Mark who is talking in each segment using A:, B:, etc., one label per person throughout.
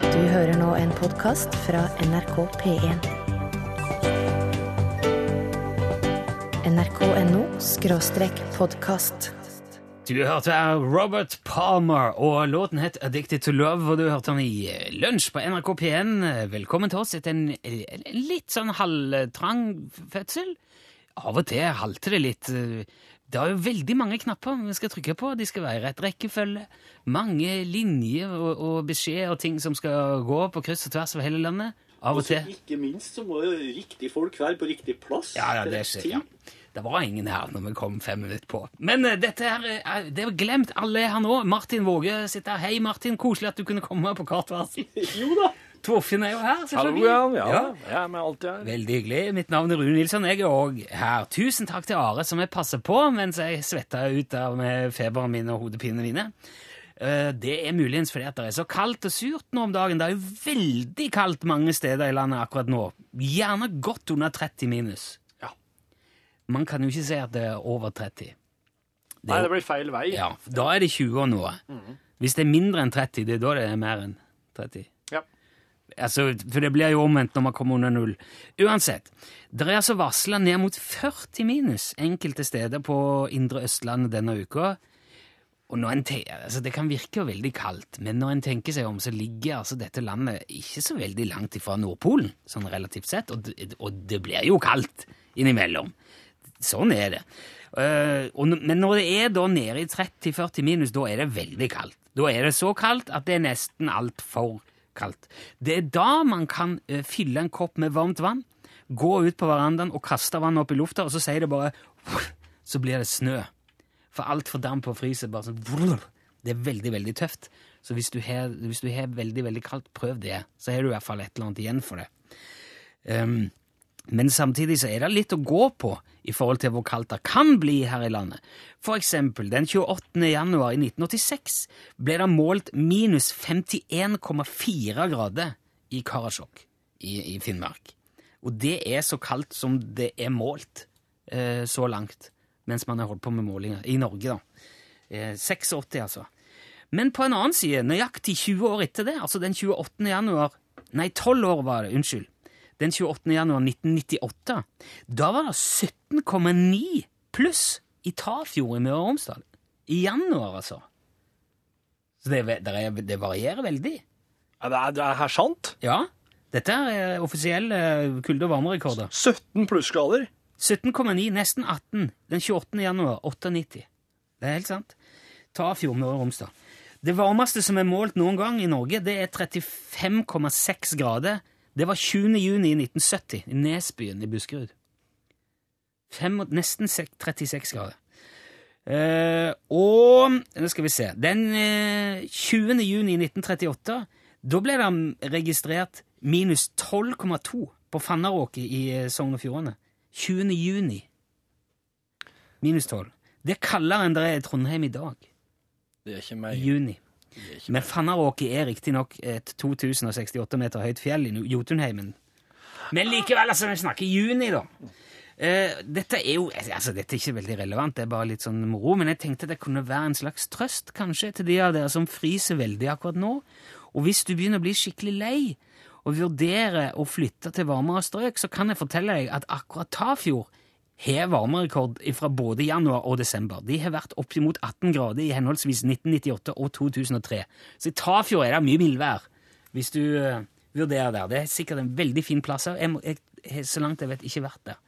A: Du hører nå en podkast fra NRK P1. NRK.no skråstrek podkast.
B: Du hørte Robert Palmer, og låten het Addicted to Love, og du hørte den i eh, Lunsj på NRK P1. Velkommen til oss etter en en litt sånn halvtrang fødsel. Av og til halter det litt. Det er jo veldig mange knapper vi skal trykke på. De skal være i rett rekkefølge. Mange linjer og, og beskjeder og ting som skal gå på kryss og tvers over hele landet. Av og
C: Og så
B: til.
C: ikke minst så må jo riktig folk være på riktig plass.
B: Ja, ja,
C: til
B: det
C: rett
B: skjer.
C: tid.
B: Ja. Det var ingen her når vi kom fem minutter på. Men eh, dette her, eh, det er jo glemt. Alle er her nå. Martin Våge sitter her. Hei, Martin. Koselig at du kunne komme på kort varsel.
C: Jo da!
B: Torfinn er jo her,
D: Hallo,
B: selvfølgelig.
D: Jan. Ja, jeg er med alltid her.
B: Veldig hyggelig. Mitt navn er Rune Nilsson. Jeg er òg her. Tusen takk til Are, som jeg passer på mens jeg svetter ut av med feberen min og hodepinene mine. Eh, Det er muligens fordi at det er så kaldt og surt nå om dagen. Det er jo veldig kaldt mange steder i landet akkurat nå. Gjerne godt under 30 minus.
D: Ja.
B: Man kan jo ikke si at det er over 30.
D: Nei, Mhm. det blir feil vei.
B: Ja, Da er det 20 og noe. Hvis det er mindre enn 30, det er da det er mer enn 30.
D: Ja.
B: Altså, for det blir jo omvendt når man kommer under null. Uansett, det er altså varsla ned mot 40 minus enkelte steder på Indre Østlandet denne uka. Og når en te- altså Det kan virke jo veldig kaldt, men når en tenker seg om, så ligger altså dette landet ikke så veldig langt ifra Nordpolen, sånn relativt sett, og, det- og det blir jo kaldt innimellom. Sånn er det. Eh, og, n- men når det er da nede i 30-40 minus, da er det veldig kaldt. Da er det så kaldt at det er nesten altfor kaldt. Det er da man kan eh, fylle en kopp med varmt vann, gå ut på verandaen og kaste vannet opp i lufta, og så sier det bare Så blir det snø. For alt fordamper og fryser bare sånn vrr. Det er veldig, veldig tøft. Så hvis du har, hvis du har veldig, veldig kaldt, prøv det. Så har du i hvert fall et eller annet igjen for det. Ehm, men samtidig så er det litt å gå på i forhold til hvor kaldt det kan bli her i landet. For eksempel den 28. januar i 1986 ble det målt minus 51,4 grader i Karasjok i, i Finnmark. Og det er så kaldt som det er målt eh, så langt mens man har holdt på med målinger i Norge, da. Eh, 86, altså. Men på en annen side, nøyaktig 20 år etter det, altså den 28. januar Nei, 12 år var det, unnskyld. Den 28. januar 1998. Da var det 17,9 pluss i Tafjord i Møre og Romsdal. I januar, altså. Så det, det, er- det varierer veldig.
D: Ja, Det, er, det er her sant.
B: Ja. Dette er eh, offisielle kulde- og varmerekorder.
D: 17 plussgrader.
B: 17,9, nesten 18, den 28. januar 98. Det er helt sant. Ta Fjordmøre og Romsdal. Det varmeste som er målt noen gang i Norge, det er 35,6 grader. Det var 20. juni i 1970 i Nesbyen i Buskerud. Fem, nesten sek- 36 grader. Eh, og nå skal vi se Den eh, 20. juni i 1938 da ble det registrert minus 12,2 på Fannaråket i eh, Sogn og Fjordane. 20. juni. Minus 12. Det er kaldere enn det er i Trondheim i dag.
D: Det er ikke
B: I
D: meg.
B: juni. Men Fannaråket er riktignok et 2068 meter høyt fjell i Jotunheimen. Men likevel, altså, vi snakker juni, da. Eh, dette er jo altså, dette er ikke veldig relevant, det er bare litt sånn moro, men jeg tenkte det kunne være en slags trøst, kanskje, til de av dere som fryser veldig akkurat nå. Og hvis du begynner å bli skikkelig lei og vurderer å flytte til varmere strøk, så kan jeg fortelle deg at akkurat Tafjord har varmerekord fra både januar og desember. De har vært oppimot 18 grader i henholdsvis 1998 og 2003. Så i Tafjord er det mye mildvær, hvis du eh, vurderer der. Det er sikkert en veldig fin plass. her. Jeg, må- jeg, har så langt jeg vet, ikke vært der.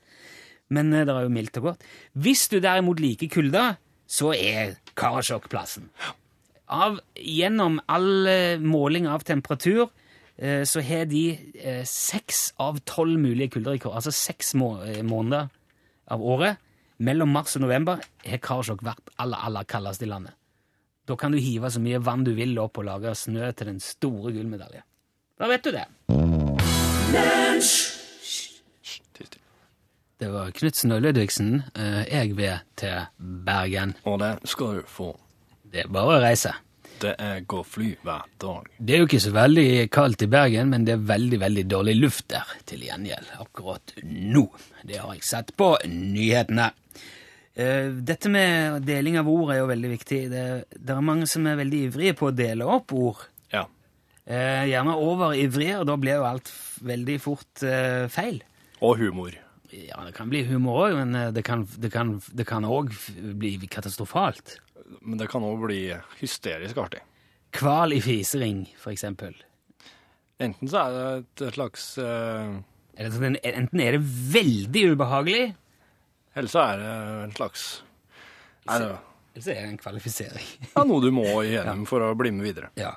B: Men eh, det er jo mildt og godt. Hvis du derimot liker kulda, så er Karasjok plassen. Av, gjennom all eh, måling av temperatur eh, så har de eh, seks av tolv mulige kulderekord, altså seks må eh, måneder av året. Mellom mars og november har Karasjok vært aller, aller kaldest i landet. Da kan du hive så mye vann du vil opp og lage snø til den store gullmedaljen. Da vet du det.
D: Tiss til.
B: Det var Knutsen og Ludvigsen. eh, Jeg vil til Bergen.
D: Og det skal du få.
B: Det er bare å reise.
D: Det er gå fly hver dag.
B: Det er jo ikke så veldig kaldt i Bergen, men det er veldig, veldig dårlig luft der til gjengjeld akkurat nå. Det har jeg sett på nyhetene. Eh, Dette med deling av ord er jo veldig viktig. Det, det er mange som er veldig ivrige på å dele opp ord.
D: Ja.
B: Eh, gjerne overivrig, og da blir jo alt f- veldig fort eh, feil.
E: Og humor.
B: Ja, det kan bli humor òg, men eh, det kan òg det kan, det kan også f- bli katastrofalt.
E: Men det kan òg bli hysterisk artig.
B: Kval i fisering, for eksempel.
E: Enten så er det et slags eh,
B: Eller sånn, Enten er det veldig ubehagelig,
E: Eller så er det en slags er det,
B: eller så er det en kvalifisering.
E: ja, noe du må igjennom for å bli med videre.
B: Ja.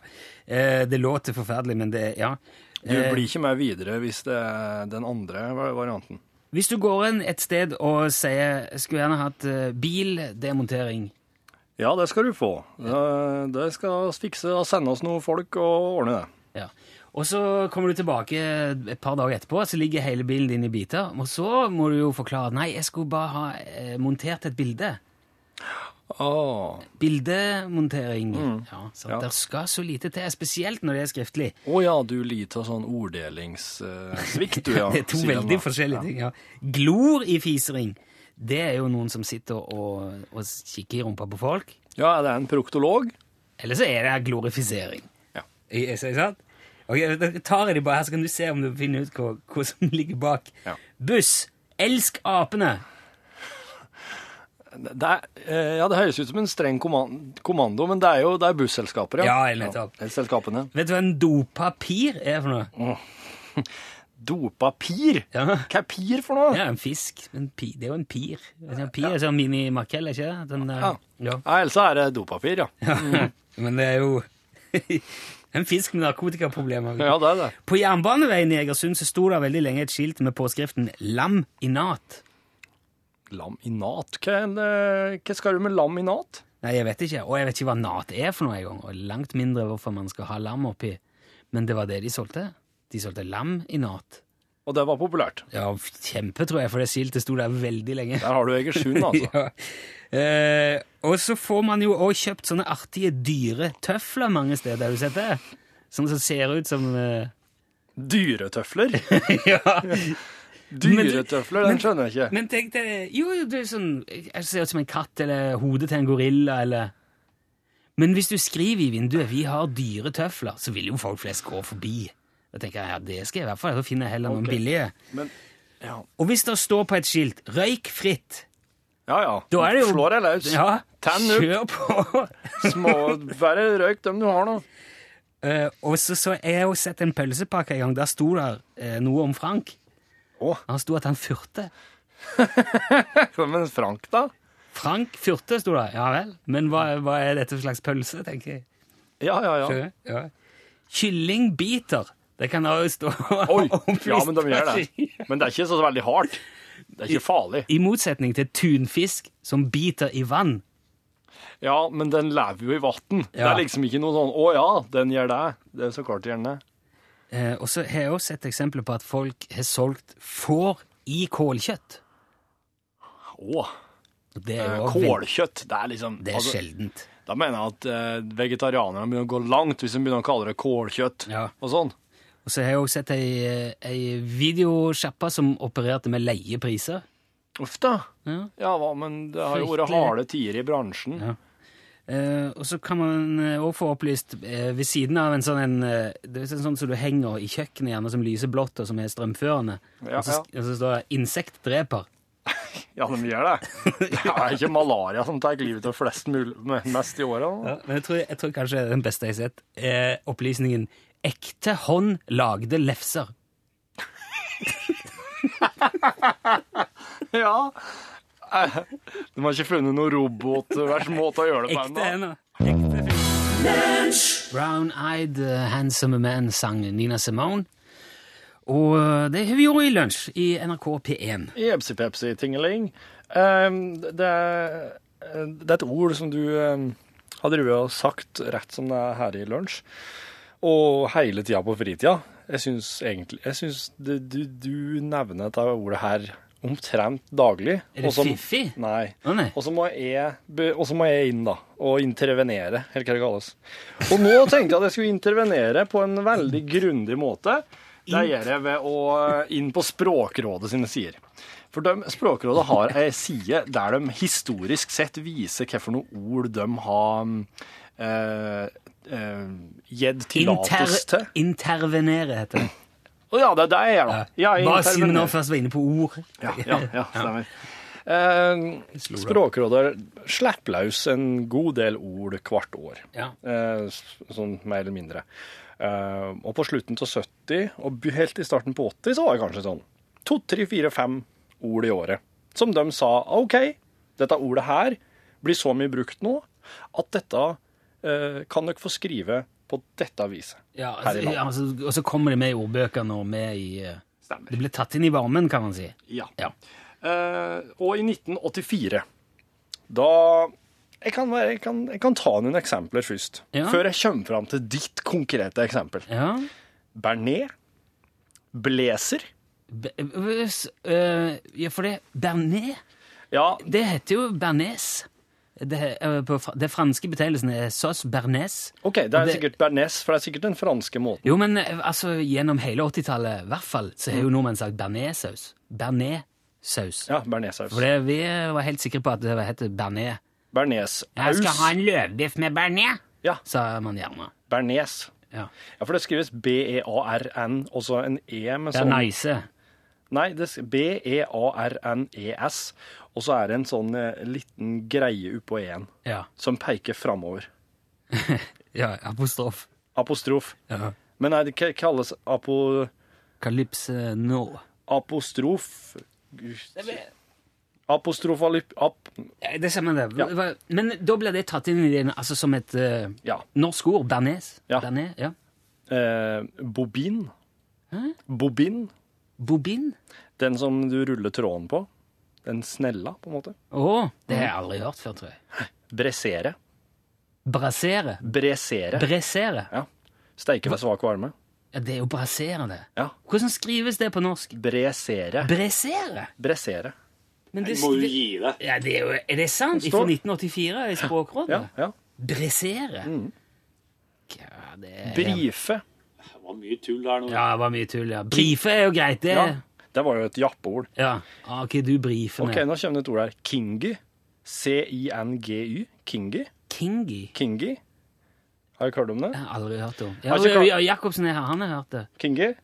B: Eh, det låter forferdelig, men det Ja.
E: Du
B: Eh,
E: blir ikke med videre hvis det er den andre va- varianten.
B: Hvis du går inn et sted og sier 'skulle gjerne hatt eh, bildemontering',
E: Ja, det skal du få. Det, det skal vi fikse og sende oss noen folk og ordne det.
B: ja. og så kommer du tilbake et par dager etterpå, så ligger hele bilen din i biter, og så må du jo forklare 'nei, jeg skulle bare ha eh, montert et bilde'.
E: Å
B: Bildemontering. Ja, så
E: Ja.
B: Der skal så lite til, spesielt når det er skriftlig.
E: Å ja, du lider av sånn orddelingssvikt, du, ja.
B: det er to
E: sier han
B: veldig
E: da.
B: forskjellige ting. Ja. Glor i fisering, det er jo noen som sitter og, og kikker i rumpa på folk.
E: Ja, er det en proktolog?
B: Eller så er det her glorifisering.
E: Ja.
B: Er er- er- sant? Ok, da tar jeg de bare her, så kan du se om du finner ut hva, hva som ligger bak.
E: Ja.
B: Buss! Elsk apene!
E: Det det er, eh, ja, det høres ut som en streng komman- kommando, men det er jo det er busselskaper,
B: Ja, eller nettopp.
E: Selskapene.
B: Vet du hva en dopapir er for noe?
E: Dopapir?
B: Ja.
E: Hva er pir for noe?
B: Ja, en fisk. En pi, det er jo en pir. En pir er sånn mini-makrell, er ikke det? Den, eh,
E: Ja.
B: ja.
E: Ja, ellers så er det dopapir, ja.
B: Men det er jo en fisk med narkotikaproblemer.
E: Ja, det er det.
B: På jernbaneveien i Egersund så sto det veldig lenge et skilt med påskriften 'Lam i nat'.
E: Lam i nat? Hva, er det- hva skal du med lam i nat?
B: Nei, jeg vet ikke, og jeg vet ikke hva nat er for noe engang, og langt mindre hvorfor man skal ha lam oppi. Men det var det de solgte. De solgte lam i nat.
E: Og det var populært.
B: Ja, kjempe, tror jeg, for det skiltet sto der veldig lenge.
E: Der har du Egersund, altså.
B: Ja. Eh, og så får man jo òg kjøpt sånne artige, dyre tøfler mange steder, har du sett det? Sånne som ser ut som eh,
E: Dyretøfler?
B: Ja.
E: Dyretøfler, den skjønner jeg ikke.
B: Men tenk deg Jo, jo, det er sånn Jeg ser ut som en katt, eller hodet til en gorilla, eller Men hvis du skriver i vinduet 'Vi har dyre tøfler', så vil jo folk flest gå forbi. Da tenker jeg ja, det skal jeg i hvert fall. Da finner jeg heller noen
E: Ok.
B: billige.
E: Men, ja.
B: Og hvis det står på et skilt 'Røyk fritt',
E: ja, ja.
B: da er det jo
E: Slår deg løs.
B: Ja,
E: Tenn opp.
B: kjør på!
E: Små, bare røyk dem du har nå.
B: Eh, og så, så jeg har jo sett en pølsepakke en gang. Der sto det eh, noe om Frank.
E: Å,
B: Han sto at han furte.
E: men Frank, da?
B: Frank furte, sto det. Ja vel. Men hva, hva er dette for slags pølse, tenker jeg.
E: Ja, ja, ja.
B: Skjønner du? Ja. Kyllingbiter. Det kan også stå
E: Oi!
B: opplyst
E: Ja, men de gjør
B: på
E: det.
B: skilt.
E: Men det er ikke så veldig hardt. Det er ikke farlig.
B: I motsetning til tunfisk som biter i vann.
E: Ja, men den lever jo i vann. Det
B: Ja.
E: er liksom ikke noe sånn 'Å ja, den gjør det'. Det er så klart den gjør det.
B: Eh, og så har jeg også sett eksempler på at folk har solgt får i kålkjøtt.
E: Å,
B: Og Det er
E: eh,
B: jo også veld-
E: kålkjøtt. Det er liksom
B: Det er
E: altså,
B: sjeldent.
E: Da mener jeg at eh, vegetarianerne begynner å gå langt hvis de begynner å kalle det kålkjøtt
B: Ja.
E: og sånn.
B: Og så har jeg også sett ei, eh, ei videosjappa som opererte med leie priser.
E: Uff da.
B: Ja.
E: Ja, hva, men det har jo vært
B: Fryktelig.
E: harde tider i bransjen.
B: Ja. Eh, og så kan man òg få opplyst, eh, ved siden av en sånn en, eh, det er en sånn som du henger i kjøkkenet gjerne, som lyser blått, og som er strømførende.
E: Ja,
B: og, så, og så står det 'insektdreper'.
E: Ja, de gjør det. Det er ikke malaria som tar livet av flest mul mest i åra. da.
B: Men jeg tror, jeg tror kanskje den beste jeg har sett, er opplysningen 'ekte hånd lagde lefser'.
E: Ja. Eh, De har ikke funnet noen robotversmåte å gjøre det på
B: Ekte
E: ennå.
B: hender. Brown-eyed eh, handsome man sang Nina Simone. Og eh, det har vi gjort i lunsj i NRK P1.
E: Jepsi-pepsi-tingeling. Ehm, det, er- eh, det er et ord som du ehm, har drevet og sagt rett som det er her i lunsj, og hele tida på fritida. Jeg syns egentlig jeg synes det, du, du nevner dette ordet her omtrent daglig.
B: Er det
E: og som-
B: fiffig?
E: Nei.
B: Å nei.
E: Og så må, jeg be- og så må jeg inn, da, og intervenere, eller hva det kalles. Og nå tenkte jeg at jeg skulle intervenere på en veldig grundig måte. Det gjør jeg ved å eh, inn på Språkrådet sine sider. For de, Språkrådet har ei side der de historisk sett viser hvilke ord de har mm, eh, eh, gitt
B: Inter
E: tillatelse til.
B: intervenere, heter det.
E: Å ja, det er det jeg gjør, da. Ja, jeg
B: Bare siden vi nå
E: intervenerer.
B: først var inne på ord.
E: Ja, ja, ja, stemmer. Eh, Språkrådet slipper løs en god del ord hvert år,
B: Ja.
E: eh, s- sånn mer eller mindre. Eh, og på slutten av 70, og be- helt i starten på 80, så var det kanskje sånn to, tre, fire, fem ord i året. Som de sa OK, dette ordet her blir så mye brukt nå at dette eh, kan dere få skrive på dette viset.
B: Ja, altså,
E: Her i landet.
B: ja, altså, og så kommer det med i ordbøkene og med i eh,
E: Stemmer.
B: Det blir tatt inn i varmen, kan man si.
E: Ja.
B: Ja.
E: Eh, og i 1984, da jeg kan, være, jeg, kan, jeg kan ta noen eksempler først,
B: Ja.
E: før jeg kommer fram til ditt konkrete eksempel.
B: ja.
E: Bernet, blazer
B: Be- eh, s- eh, ja, for det Bernet
E: Ja,
B: Det heter jo bearnés. Det, eh, på fra- det franske betegnelsen er sauce bearnés.
E: OK, det er
B: Det-
E: sikkert bearnés, for det er sikkert den franske måten.
B: Jo, men eh, altså, gjennom hele 80-tallet, i hvert fall, så
E: Mm.
B: har jo nordmenn sagt bearnéssaus. Bearnéssaus.
E: Ja, bearnéssaus.
B: For det, vi var helt sikre på at det heter bearnés. Jeg skal ha
E: Bearnéssaus.
B: en løvbiff med bearnés,
E: Ja,
B: sa man gjerne.
E: bearnés.
B: Ja.
E: Ja, for det skrives E B-E-A-R-N, og så en E med
B: Det er
E: sånn
B: nice.
E: Nei, det E er B-E-A-R-N-E-S, E og så er det en sånn eh, liten greie oppå E-en.
B: Ja.
E: som peker framover.
B: ja apostrof.
E: Apostrof.
B: Ja.
E: Men nei, det k- kalles apo,
B: Kalypse nå.
E: apostrof Apostrofalyp... Ap,
B: Ja, Det ser man det.
E: Ja.
B: Hva- Men da blir det tatt inn i den, altså som et eh,
E: ja.
B: norsk ord. Bearnés.
E: Ja.
B: Bearnés, ja.
E: Eh, bobin.
B: Hæ?
E: Bobin.
B: Bobin.
E: Den som du ruller tråden på. Den snella, på en måte.
B: Å, det har jeg aldri hørt før, tror jeg.
E: Bressere.
B: Brassere.
E: Bressere.
B: Bressere.
E: Ja. Steike ved svak varme.
B: Ja, det er jo brassere, det.
E: Ja.
B: Hvordan skrives det på norsk?
E: Bressere.
B: Bressere?
E: Bressere.
B: Men
F: Du
B: det,
F: må jo
B: det,
F: gi deg.
B: ja, det er, jo, er det sant?
E: Det
B: Fra
E: står-
B: 1984 i Språkrådet?
E: Ja, ja.
B: Bressere? Ja, det er...
E: Brife.
F: Det var mye tull der nå.
B: Ja, det var mye tull, ja. Brife er jo greit, det.
E: Ja.
B: Ja.
E: Det var jo et jappeord.
B: Ah, ok, du brifer
E: Ok,
B: med.
E: nå kommer det et ord her. Kingi. C-i-n-g-y. Kingi.
B: Kingi?
E: Kingi. Har dere hørt om det?
B: Jeg har aldri hørt om. Ja,
E: Har ikke klart-
B: ja, Jacobsen er her, han har hørt det.
E: Kingi? Nei.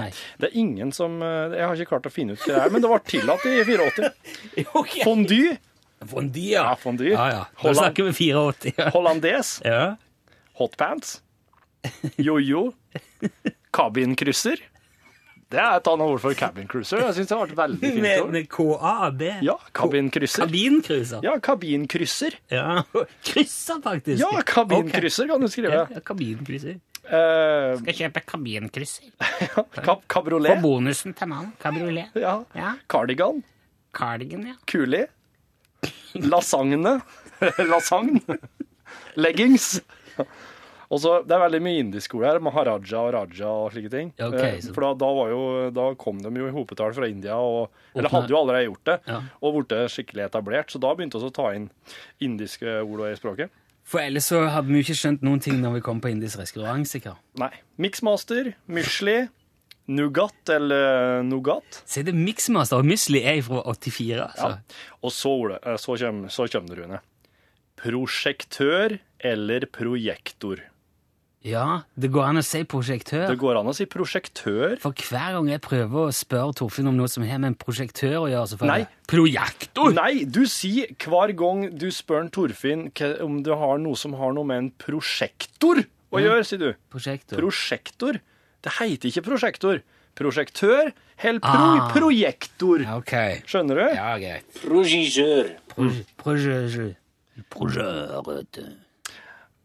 B: Nei.
E: Det er ingen som eh, Jeg har ikke klart å finne ut hva det er, men det var tillatt i 84.
B: Ok.
E: Fondue.
B: Fondue, ja.
E: Ja, fondue.
B: Ja, ja. Nå
E: Holland-
B: snakker vi 84, ja.
E: Hollandes.
B: Ja.
E: Hotpants. Jojo. Kabinkrysser. Det er et annet ord for cabincruiser. Jeg syns det var et veldig fint
B: Med,
E: ord.
B: med KAB.
E: Ja, kabinkrysser.
B: Kabinkrysser.
E: Ja, kabinkrysser.
B: Ja. Krysser, faktisk.
E: Ja, kabinkrysser kan du skrive.
B: Ok. Ja, kabinkrysser.
E: Eh,
B: Skal kjøpe kabinkrysser.
E: kab
B: Og
E: kabrolet.
B: bonusen til mannen. Kabriolet.
E: Ja.
B: Ja.
E: Cardigan.
B: Cardigan, ja.
E: Kuli. Lasagne. Lasagne. Leggings. Og så, Det er veldig mye indisk ord her. Maharaja og raja og slike ting.
B: Ja, ok,
E: Eh,
B: så-
E: For da, da, var jo, da kom de jo i hopetall fra India, og, eller
B: Åpna-
E: hadde jo allerede gjort det,
B: Ja.
E: og ble skikkelig etablert. Så da begynte vi å ta inn indiske ord i språket.
B: For ellers så hadde vi jo ikke skjønt noen ting når vi kom på indisk restaurant, sikkert.
E: Nei. Mixmaster, musli, nougat eller nougat.
B: Se, det er Mixmaster og Musli er fra 84, altså.
E: Ja. Og så, ordet- eh, så kommer så kommer det, Rune. Prosjektør eller projektor.
B: Ja. det går an å si
E: Det
B: prosjektør.
E: går an å si prosjektør.
B: For hver gang jeg prøver å spørre Torfinn om noe som har med en prosjektør å gjøre, så får
E: Nei.
B: jeg Projektor!
E: Nei, du sier hver gang du spør en Torfinn hva- om du har noe som har noe med en prosjektor å gjøre, sier du.
B: Prosjektor.
E: Prosjektor. Det heter ikke prosjektor. Prosjektør eller pro
B: Ah.
E: projektor.
B: Ja, ok.
E: Skjønner du?
B: Ja, greit.
F: Progigeur.
E: Mm.
B: Prosjektor. Prosjektor.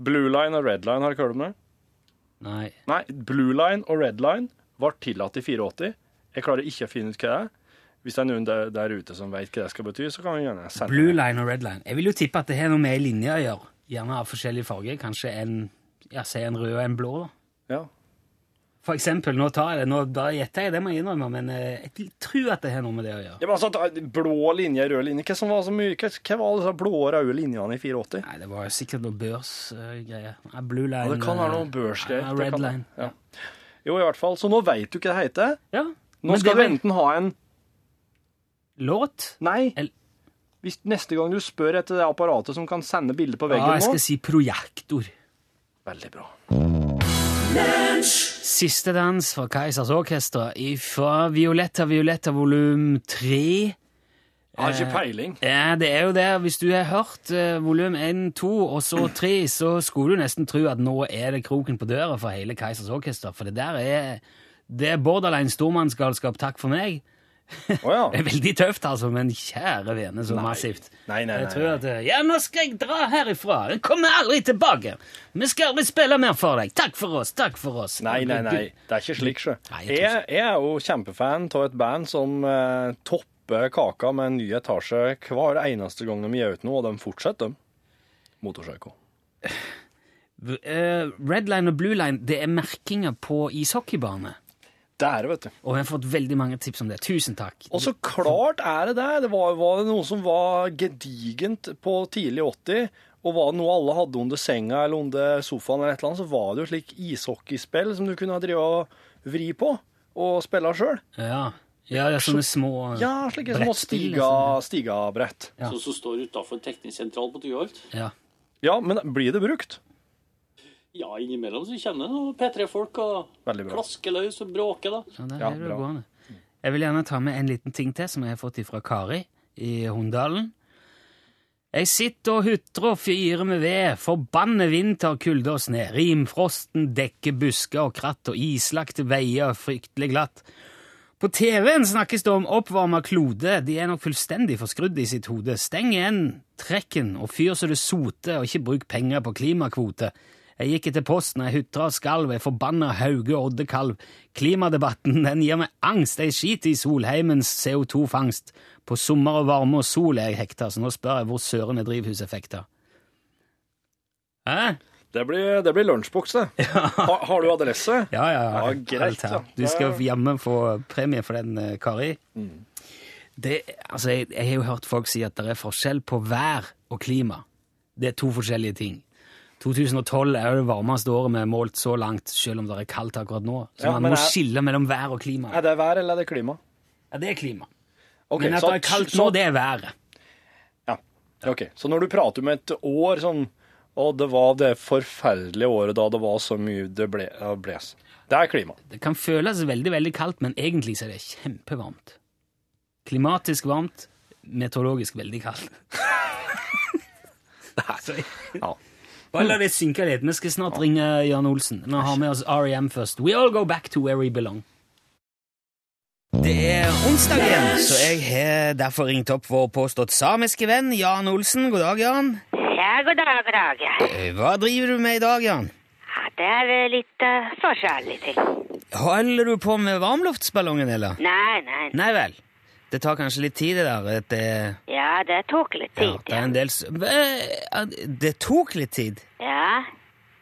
E: Blue line og red line, har du hørt om det?
B: Nei.
E: Nei, blue line og red line var tillatt i 84. Jeg klarer ikke å finne ut hva det er. Hvis det er noen der, der ute som vet hva det skal bety, så kan vi gjerne sende
B: Blue line og red line. Jeg vil jo tippe at det har noe med linja å gjøre. Gjerne av forskjellige farger. Kanskje en, ja, si en rød og en blå. da.
E: Ja.
B: For eksempel, nå tar jeg det, nå bare gjetter jeg, det må jeg innrømme, men eh, jeg tror at det har noe med det å gjøre.
E: Ja, men altså, da- blå linje, rød linje, hva som var så mye? Hva, hva var alle disse blå og røde linjene i 84?
B: Nei, det var jo sikkert noe børsgreier. Nei, blue line.
E: Ja, det kan være
B: eh,
E: noen børsgreier.
B: ja,
E: Det
B: red
E: kan-
B: line.
E: Ja. Jo, i hvert fall. Så nå vet du hva det heter.
B: Ja.
E: Nå skal du enten ha en
B: Låt?
E: Nei.
B: El-
E: Hvis neste gang du spør etter det apparatet som kan sende bilder på
B: Ja,
E: veggen
B: Ah, jeg
E: nå
B: skal si projektor.
E: Veldig bra.
B: Siste dans fra Keisers Orkester fra Violetta Violetta volum 3.
E: Jeg har ikke peiling.
B: Ja, det er jo det. Hvis du har hørt eh, volum 1, 2 og så 3, så skulle du nesten tro at nå er det kroken på døra for hele Keisers Orkester, for det der er det er borderline stormannsgalskap, takk for meg.
E: Å ja.
B: Det er veldig tøft, altså, men kjære vene, så massivt.
E: Nei, nei, nei,
B: Jeg tror at eh, Ja, nå skal jeg dra herifra! Jeg kommer aldri tilbake! Vi skal aldri spille mer for deg! Takk for oss! Takk for oss!
E: Nei, nei, nei. Det er ikke slik, sjø.
B: Nei, jeg tror
E: Jeg, jeg er jo kjempefan av et band som eh, topper kaka med en ny etasje hver eneste gang de gir ut noe, og de fortsetter, de. Motorpsycho.
B: Eh, Red line og blue line det er merkinger på ishockeybane.
E: Det er det, vet du.
B: Og jeg har fått veldig mange tips om det. Tusen takk.
E: Og så klart er det det. Det var, var det noe som var gedigent på tidlig 80, og var det noe alle hadde under senga eller under sofaen, eller et eller annet, så var det jo et slikt ishockeyspill som du kunne ha drevet og vri på og spille sjøl.
B: Ja, ja, ja sånne små eh,
E: Ja, slike små
B: brettspill,
E: stiga, stigabrett.
B: Ja.
F: Sånn som står utafor tekningssentralen på Tyholt.
B: Ja.
E: Ja, men blir det brukt?
F: Ja, innimellom så kjenner jeg noen P3-folk og
E: Veldig bra.
F: klasker løs og bråker, da.
B: Ja, Sånn der
E: Ja,
B: er det
E: bra.
B: gående. Jeg vil gjerne ta med en liten ting til som jeg har fått fra Kari i Hunndalen. Jeg sitter og hutrer og fyrer med ved, forbanner vinter, kulde og sne, rimfrosten dekker busker og kratt og islagte veier fryktelig glatt. På TV-en snakkes det om oppvarma klode, de er nok fullstendig forskrudd i sitt hode. Steng igjen trekken og fyr så det soter, og ikke bruk penger på klimakvote. Jeg gikk etter posten, jeg hutra og skalv, jeg forbanna Hauge og Oddekalv. Klimadebatten, den gir meg angst, jeg skiter i Solheimens CO2-fangst. På sommer og varme og sol er jeg hekta, så nå spør jeg hvor søren er drivhuseffekter. Hæ?
E: Det blir, det blir lunsjboks, det. Ha, har du adresse?
B: Ja, ja, ja.
E: Ja, Mm. greit,
B: Alt her.
E: da.
B: Du skal hjemme få premie for den, eh, Kari. Det, altså, jeg, jeg har jo hørt folk si at det er forskjell på vær og klima. Det er to forskjellige ting. 2012 er jo det varmeste året vi har målt så langt, selv om det er kaldt akkurat nå. Så
E: Ja,
B: man
E: men
B: må
E: er-
B: skille mellom vær og klima.
E: Er det vær eller er det klima?
B: Ja, det er klima.
E: Ok,
B: men at
E: så-
B: det er kaldt
E: så-
B: nå, det er været.
E: ja. Ok, Så når du prater om et år sånn Å, det var det forferdelige året da det var så mye det ble, ja, bles. Det er klima.
B: Det kan føles veldig, veldig kaldt, men egentlig så er det kjempevarmt. Klimatisk varmt, meteorologisk veldig kaldt. Så-
E: Ja.
B: Bare la det synke litt. Vi skal snart ringe Jan Olsen. Nå har vi oss R.E.M. først. We all go back to where we belong. Det er onsdag igjen, så jeg har derfor ringt opp vår påstått samiske venn Jan Olsen. God dag, Jan.
G: Ja, god dag, god dag. Ja,
B: Eh, Hva driver du med i dag, Jan?
G: det er eh, litt eh, forskjellig til.
B: Holder du på med varmluftsballongen, eller?
G: Nei, nei. nei.
B: Nei vel. Det tar kanskje litt tid, det der. at Det,
G: Ja, det tok litt
B: ja,
G: tid,
B: det
G: ja.
B: er en del s- Hva- Det tok litt tid?
G: Ja,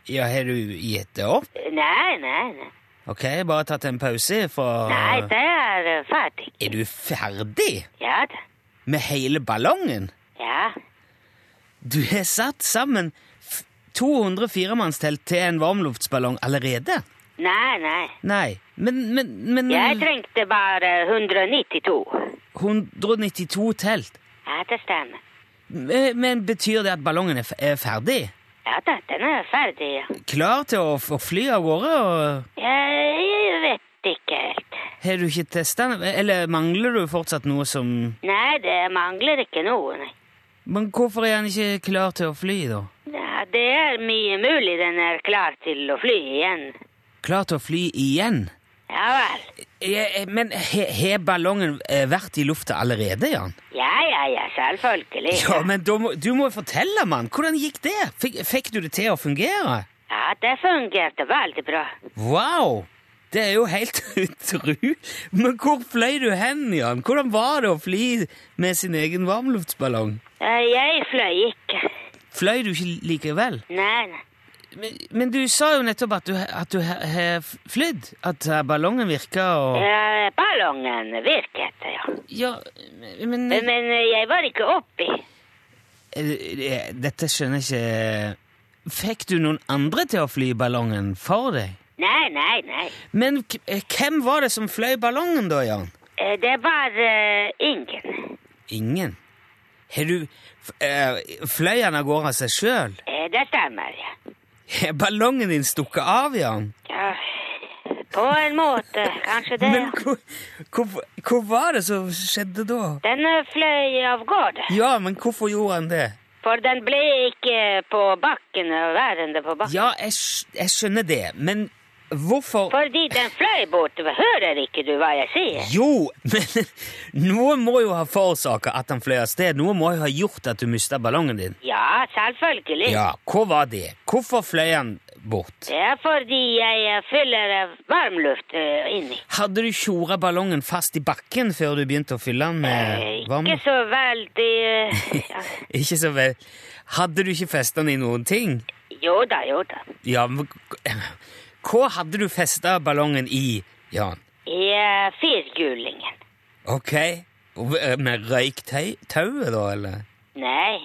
B: Ja, har du gitt det opp?
G: nei, nei, nei.
B: Ok, bare tatt en pause fra
G: Nei, det er eh, ferdig.
B: Er du ferdig
G: Ja, da.
B: med hele ballongen?
G: Ja,
B: Du har satt sammen f- 200 firemannstelt til en varmluftsballong allerede?
G: nei, nei.
B: Nei, men, men, men
G: Jeg trengte bare 192.
B: 192 telt.
G: Ja, det stemmer.
B: Men men betyr det at ballongen er, f er ferdig?
G: Ja, da, den er ferdig, ja.
B: Klar til å, f å fly av gårde? Og
G: Jeg, jeg vet ikke helt.
B: har du ikke testa den? Eller mangler du fortsatt noe som
G: Nei, det mangler ikke noe, nei.
B: Men hvorfor er han ikke klar til å fly, da?
G: Ja, det er mye mulig den er klar til å fly igjen.
B: Klar til å fly igjen?
G: Ja vel.
B: Jeg, jeg- eh, men he- har ballongen eh, vært i lufta allerede, Jan?
G: Ja, ja, ja, selvfølgelig.
B: Ja, men da må, du må jo fortelle, mann. Hvordan gikk det? Fikk, fikk du det til å fungere?
G: Ja, det fungerte veldig bra.
B: Wow! Det er jo helt utru. Men hvor fløy du hen, Jan? Hvordan var det å fly med sin egen varmluftsballong?
G: Eh, Jeg fløy ikke.
B: Fløy du ikke likevel?
G: Nei, nei.
B: Men, men du sa jo nettopp at du, at du har har flydd. At eh, ballongen virka og
G: Eh, Ballongen virket, ja.
B: Ja, men eh,
G: Men eh, jeg var ikke oppi.
B: eh, Dette skjønner jeg ikke Fikk du noen andre til å fly ballongen for deg?
G: Nei, nei, nei.
B: Men k- eh, hvem var det som fløy ballongen, da, Jan?
G: Eh, Det var eh, ingen.
B: Ingen? Har du f- eh, Fløy han av gårde av seg sjøl?
G: Eh, Det stemmer, ja.
B: Er ballongen din stukket av, Jan?
G: Ja, på en måte. Kanskje det.
B: Men hvor, hvor, hvor var det som skjedde da?
G: Den eh, fløy av gårde,
B: Ja, men hvorfor gjorde han det?
G: for den ble ikke på bakken, eh, værende på bakken.
B: Ja, jeg, skj- jeg skjønner det, men hvorfor
G: Fordi den fløy bortover. Hører ikke du hva jeg sier?
B: Jo, men noe må jo ha forårsaka at han fløy av sted. Noe må jo ha gjort at du mista ballongen din.
G: Ja, selvfølgelig.
B: Ja, hva var det? Hvorfor fløy han bort?
G: Det er fordi jeg eh, fyller eh, varmluft eh, inni.
B: Hadde du tjora ballongen fast i bakken før du begynte å fylle den
G: Eh,
B: med varme?
G: Ikke så veldig eh, ja.
B: Ikke så vel. Hadde du ikke festa den i noen ting?
G: Jo da, jo da.
B: Ja, men Hva hadde du festa ballongen i, Jan?
G: I eh, firhjulingen.
B: Ok, eh, med røyktauet da, eller?
G: Nei,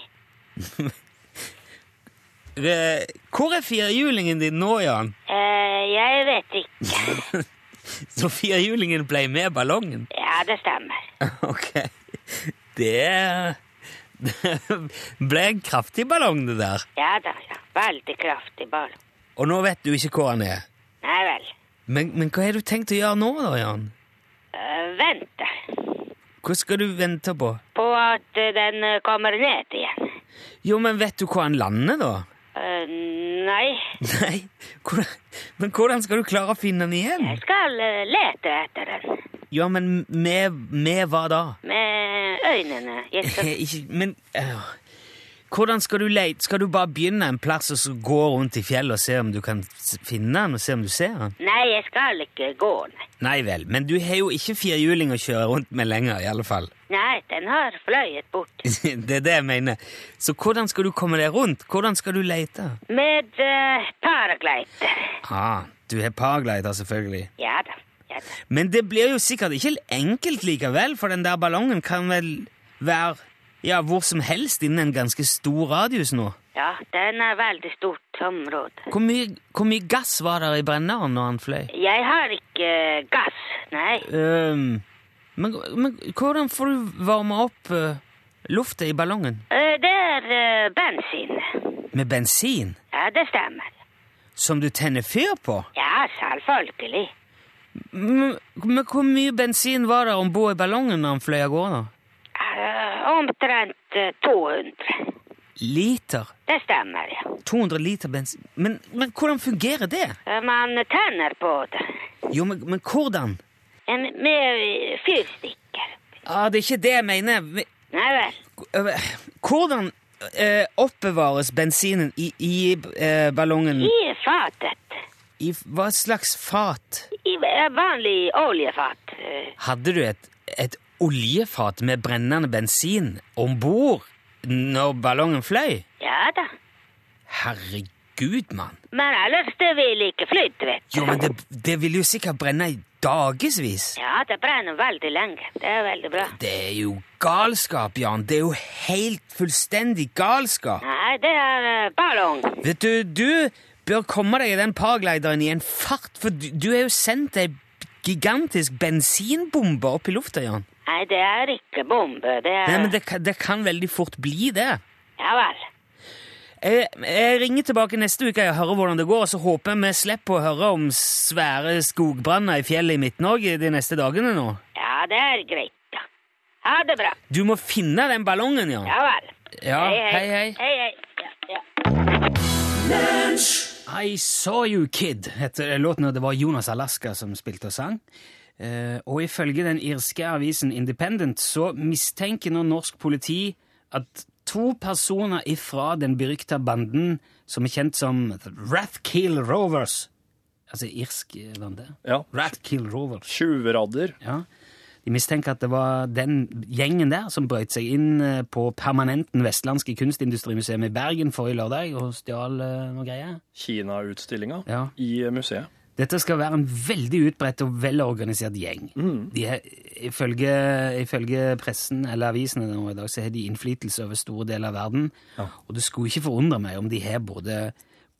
B: Eh, Hvor er firhjulingen din nå, Jan?
G: eh, jeg vet ikke.
B: Så firhjulingen ble med ballongen?
G: Ja, det stemmer.
B: Ok, det Det ble en kraftig ballong, det der.
G: Ja da, ja. Veldig kraftig ball.
B: Og nå vet du ikke hvor han er.
G: Nei vel.
B: Men, men hva har du tenkt å gjøre nå, da, Jan?
G: Eh, vente
B: Hva skal du vente på?
G: på at eh, den eh, kommer ned igjen.
B: Jo, men vet du hvor han lander, da?
G: Eh, nei,
B: Nei, hvordan, men hvordan skal du klare å finne den igjen?
G: jeg skal eh, lete etter den
B: Ja, men med, med hva da?
G: med øynene. Jeg skal...
B: Eh, Ikke, men øh, hvordan skal du leite? Skal du bare begynne en plass og så gå rundt i fjellet og se om du kan s- finne den, og se om du ser den?
G: Nei, jeg skal ikke gå, nei.
B: Nei vel, men du har jo ikke firhjuling å kjøre rundt med lenger, i alle fall.
G: Nei, den har fløyet bort.
B: Det er det jeg mener. Så hvordan skal du komme deg rundt? Hvordan skal du leite?
G: Med uh, paraglider.
B: Ah, du har paraglider, selvfølgelig.
G: Ja da, ja da.
B: Men det blir jo sikkert ikke enkelt likevel, for den der ballongen kan vel være ja, hvor som helst innen en ganske stor radius nå.
G: Ja, den er veldig stort område.
B: Hvor mye, hvor mye gass var der i brenneren når han fløy?
G: Jeg har ikke eh, gass, nei.
B: Øhm, Ehm, men, men hvordan får du varme opp uh, lufta i ballongen?
G: Eh, det er eh, bensin.
B: Med bensin?
G: Ja, det stemmer.
B: Som du tenner fyr på?
G: Ja, selvfølgelig.
B: Men, men hvor mye bensin var det om bord i ballongen når han fløy av gårde?
G: Eh, omtrent eh, 200.
B: Liter?
G: Det stemmer, ja.
B: 200 liter bensin? Men, men hvordan fungerer det?
G: Eh, Man tenner på det.
B: Jo, men, men hvordan?
G: En, med eh, fyrstikker.
B: Ah, det er ikke det jeg mener. Men-
G: Nei vel.
B: Øh, Hvordan eh, oppbevares bensinen i, i eh, ballongen?
G: I fatet.
B: I f- hva slags fat?
G: I eh, vanlig oljefat. Eh,
B: Hadde du et, et oljefat med brennende bensin om bord når ballongen fløy?
G: Ja da.
B: Herregud, mann.
G: Men ellers det vil ikke flyte, vet du.
B: Jo, men det, det vil jo sikkert brenne i dagevis.
G: Ja, det brenner veldig lenge. Det er veldig bra.
B: Det er jo galskap, Jan. Det er jo helt fullstendig galskap.
G: Nei, det er eh, ballong.
B: Vet du, du bør komme deg i den paraglideren i en fart, for du, du er jo sendt ei gigantisk bensinbombe opp i lufta, Jan.
G: Nei, det er ikke bombe. Det er
B: Nei, men det, kan- det kan veldig fort bli det.
G: Ja vel.
B: Jeg, jeg ringer tilbake neste uke og hører hvordan det går, og så håper jeg vi slipper å høre om svære skogbranner i fjellet i Midt-Norge de neste dagene nå.
G: Ja, det er greit. ja. Ha det bra.
B: Du må finne den ballongen, Jan.
G: Ja vel.
B: Ja, Ah, hei, hei.
G: Hei, hei. Ja, ja.
B: I Saw You Kid heter låten, og det var Jonas Alaska som spilte og sang. Eh, og ifølge den irske avisen Independent så mistenker nå norsk politi at to personer ifra den berykta banden som er kjent som Rathkill Rovers Altså irsk eh, bande.
D: Ja.
B: Rathkill Rovers.
D: Tjuvradder.
B: Ja. De mistenker at det var den gjengen der som brøt seg inn eh, på Permanenten Vestlandske Kunstindustrimuseum i Bergen forrige lørdag og stjal eh, noe greier.
D: Kina-utstillinga
B: Ja.
D: i museet.
B: Dette skal være en veldig utbredt og velorganisert gjeng.
E: Mm.
B: De er, ifølge, ifølge pressen eller avisene nå i dag så har de innflytelse over store deler av verden. Og det skulle ikke forundre meg om de har både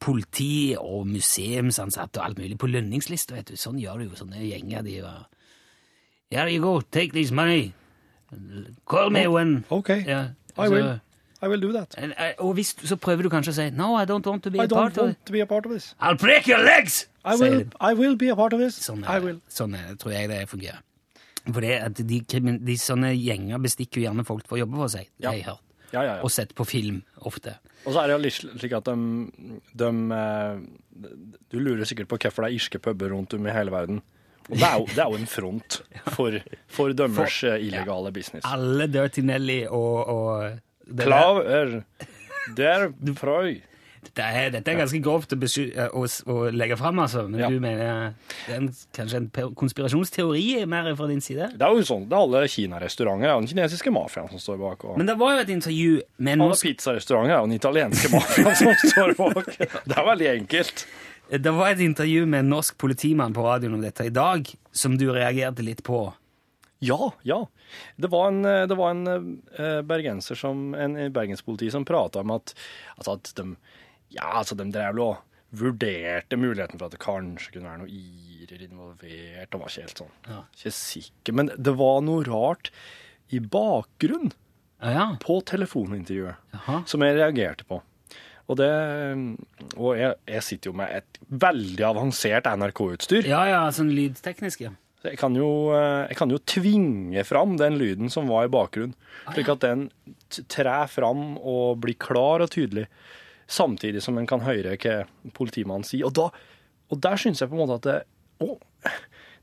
B: politi og museumsansatte og alt mulig på lønningslista. vet du. Sånn gjør du jo sånne gjenger. de var... Here you go, take this money. Call me when
D: Ok,
B: Ja, altså, eh,
D: I will.
E: I will do that.
B: Og hvis, så prøver du kanskje å si No, I don't want to be
E: I
B: a part of
E: don't
B: it.
E: want to be a part of this.
B: I'll break your legs!
E: I
B: sier
E: will,
B: de.
E: I will be a part of this.
B: Sånn,
E: I
B: er,
E: will.
B: det. sånn er, det, tror jeg det fungerer. For det at de, krimin- de sånne gjenger bestikker jo gjerne folk for å jobbe for seg, det
E: Ja.
B: har jeg hørt.
E: Ja, ja, ja.
B: Og sett på film ofte.
E: Og så er det jo litt slik at de, de eh, Du lurer sikkert på hvorfor det er irske puber rundt om i hele verden. Og det er jo, det er jo en front for, for dømmers eh, illegale business.
B: Alle Dirty Nelly og, og det der.
E: Klav er der frøy.
B: Det er, Dette er ganske grovt å, besky, eh, å, å legge fram, altså. Men
E: Ja.
B: du mener det er en, kanskje en pe- konspirasjonsteori mer fra din side?
E: Det er jo sånn, det er alle kinarestauranter. Det er jo den kinesiske mafiaen som står bak. Og
B: Men det var jo et intervju med en
E: alle
B: norsk
E: pizzarestauranter er jo den italienske mafiaen som står bak. Det er veldig enkelt.
B: Det var et intervju med en norsk politimann på radioen om dette i dag, som du reagerte litt på.
E: Ja, ja. Det var en, eh, det var en eh, bergenser som, en i bergenspoliti som prata om at, altså at de, ja, altså de drev og vurderte muligheten for at det kanskje kunne være noe irer involvert. Det var ikke helt sånn.
B: Ja.
E: Ikke sikker, men det var noe rart i bakgrunnen
B: Ja, Ah, ja.
E: på telefonintervjuet
B: Jaha.
E: som jeg reagerte på. Og, det, eh, og jeg, jeg sitter jo med et veldig avansert NRK-utstyr.
B: Ja, ja, sånn lydteknisk, ja.
E: Så Jeg kan, jo, eh, jeg kan jo tvinge fram den lyden som var i bakgrunnen, slik at den t- trær fram og blir klar og tydelig, samtidig som en kan høre hva politimannen sier. Og, da, og der syns jeg på en måte at det, å,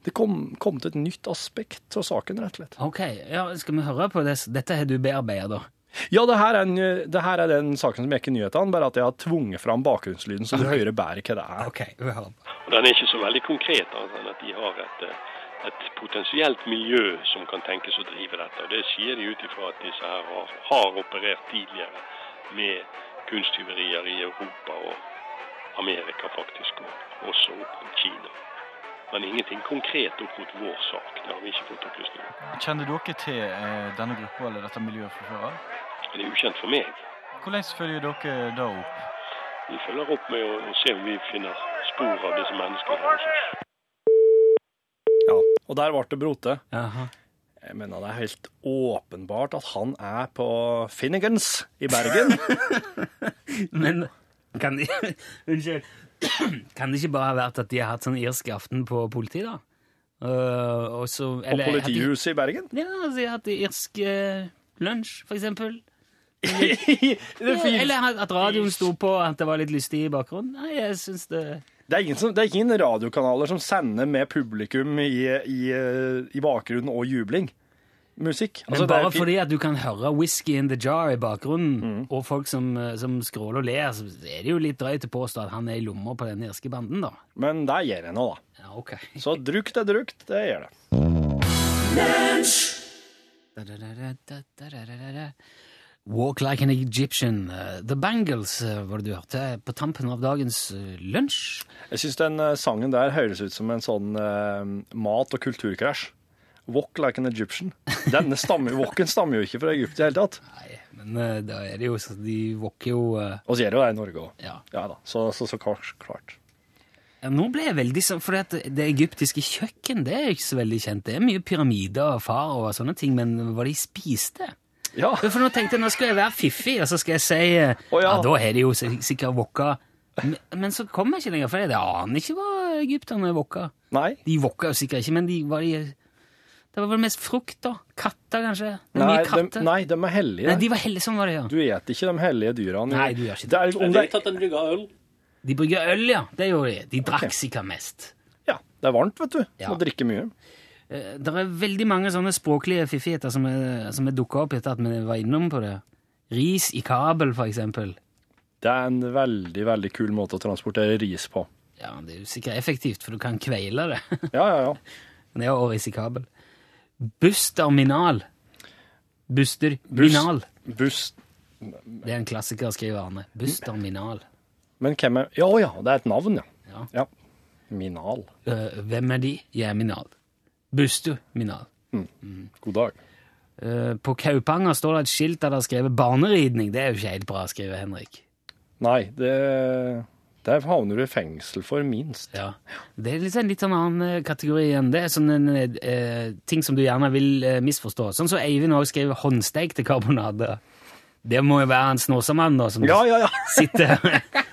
E: det kom, kom til et nytt aspekt av saken, rett og slett.
B: Ok, ja, skal vi høre på det? Dette har du bearbeidet, da.
E: Ja, det her er, en, det her er den saken som gikk i nyhetene, bare at jeg har tvunget fram bakgrunnslyden, så du hører bedre hva det er.
B: Ok, vi hører på.
F: Den er ikke så veldig konkret, annet enn at de har et, eh, et potensielt miljø som kan tenkes å drive dette. Og Det sier de ut ifra at disse her har, har operert tidligere med kunsttyverier i Europa og Amerika faktisk, og også opp mot Kina. Men ingenting konkret opp mot vår sak. Det har vi ikke fått opplysninger om.
H: Kjenner dere til eh, denne gruppa eller dette miljøet fra før av?
F: Det er ukjent for meg.
H: Hvordan følger dere da opp?
F: Vi følger opp med å, å se om vi finner spor av disse menneskene. her også.
E: Ja, og der ble det brote.
B: Jaha.
E: Jeg mener det er helt åpenbart at han er på Finnegans i Bergen.
B: Men kan de Unnskyld. Kan det ikke bare ha vært at de har hatt sånn irsk aften på politiet, da? Eh, og så
E: På
B: eller at de-
E: politihuset i Bergen?
B: Ja, altså, de har hatt irsk eh, lunsj, for eksempel.
E: det,
B: Ja,
E: finnes-
B: Eller at radioen sto på, at det var litt lystig i bakgrunnen. Nei, jeg syns det
E: det, er ingen som, det er ingen radiokanaler som sender med publikum i, i, eh, i bakgrunnen og jubling. Musikk.
B: Men
E: Altså, det er
B: bare
E: fint. Mm.
B: fordi at du kan høre Whisky in the Jar i bakgrunnen, og folk som, eh, som skråler og ler, så er det jo litt drøyt å påstå at han er i lomma på den irske banden, da.
E: Men det gjør jeg nå, da.
B: Ja, ok.
E: Så drukt er drukt, det gjør det.
B: Walk like an Egyptian. eh, The Bangles eh, var det du hørte på tampen av dagens eh, lunsj.
E: Jeg syns den eh, sangen der høres ut som en sånn eh, mat- og kulturkrasj. Walk like an Egyptian. Denne stammer, walken stammer jo ikke fra Egypt i det hele tatt.
B: Nei, men eh, da er det jo så De våkker jo eh,
E: Og så gjør jo det i Norge òg.
B: Ja.
E: Ja da. Så, så, så klart. klart.
B: Ja, Nå ble jeg veldig sånn, for det, det egyptiske kjøkken det er ikke så veldig kjent. Det er mye pyramider og far og sånne ting, men hva de spiste
E: Ja.
B: For nå tenkte jeg, nå skal jeg være fiffig, og så skal jeg si eh,
E: Å,
B: ja.
E: ja.
B: da har de jo sik- sikkert wokka. Men, men så kom jeg ikke lenger, for jeg aner ikke hva egypterne wokka.
E: Nei.
B: De wokka jo sikkert ikke, men de var de Det var vel mest frukt, da. Katter, kanskje. Det er
E: Nei,
B: mye
E: de,
B: katter.
E: nei, de er hellige.
B: Nei, de var heldige, sånn var det, ja.
E: Du et ikke de hellige dyra.
B: Nei, du gjør ikke det.
E: det. Er, liksom- om
I: Jeg
E: det,
I: vet at den brygger øl.
B: De brygger øl, ja. Det gjorde de. De drakk sikkert mest.
E: ja, det er varmt, vet du.
B: Ja.
E: Må drikke mye.
B: Det Eh, er veldig mange sånne språklige fiffigheter som er, som er dukka opp etter at vi var innom på det. Ris i kabel, for eksempel.
E: Det er en veldig veldig kul måte å transportere ris på.
B: Ja, det er jo sikkert effektivt, for du kan kveile det.
E: Ja, ja, ja.
B: Men det er jo ris i kabel. Busterminal. Buster.
E: Bus-
B: Minal.
E: Buss
B: Det er en klassiker, skriver Arne. Busterminal.
E: Men hvem er Ja ja, det er et navn,
B: Ja.
E: ja. Minal.
B: Eh, hvem er de? Jeg er Minal. Busterminal.
E: God dag.
B: Eh, på Kaupanger står det et skilt der det er skrevet 'barneridning'. Det er jo ikke helt bra, skriver Henrik.
E: Nei, det Der havner du i fengsel for minst.
B: Ja. Det er liksom en litt sånn annen eh, kategori enn det. Sånn en eh, ting som du gjerne vil eh, misforstå. Sånn som Eivind også skriver 'håndsteikte karbonader'. Det må jo være han Snåsamann, da, som
E: Ja, ja, ja.
B: sitter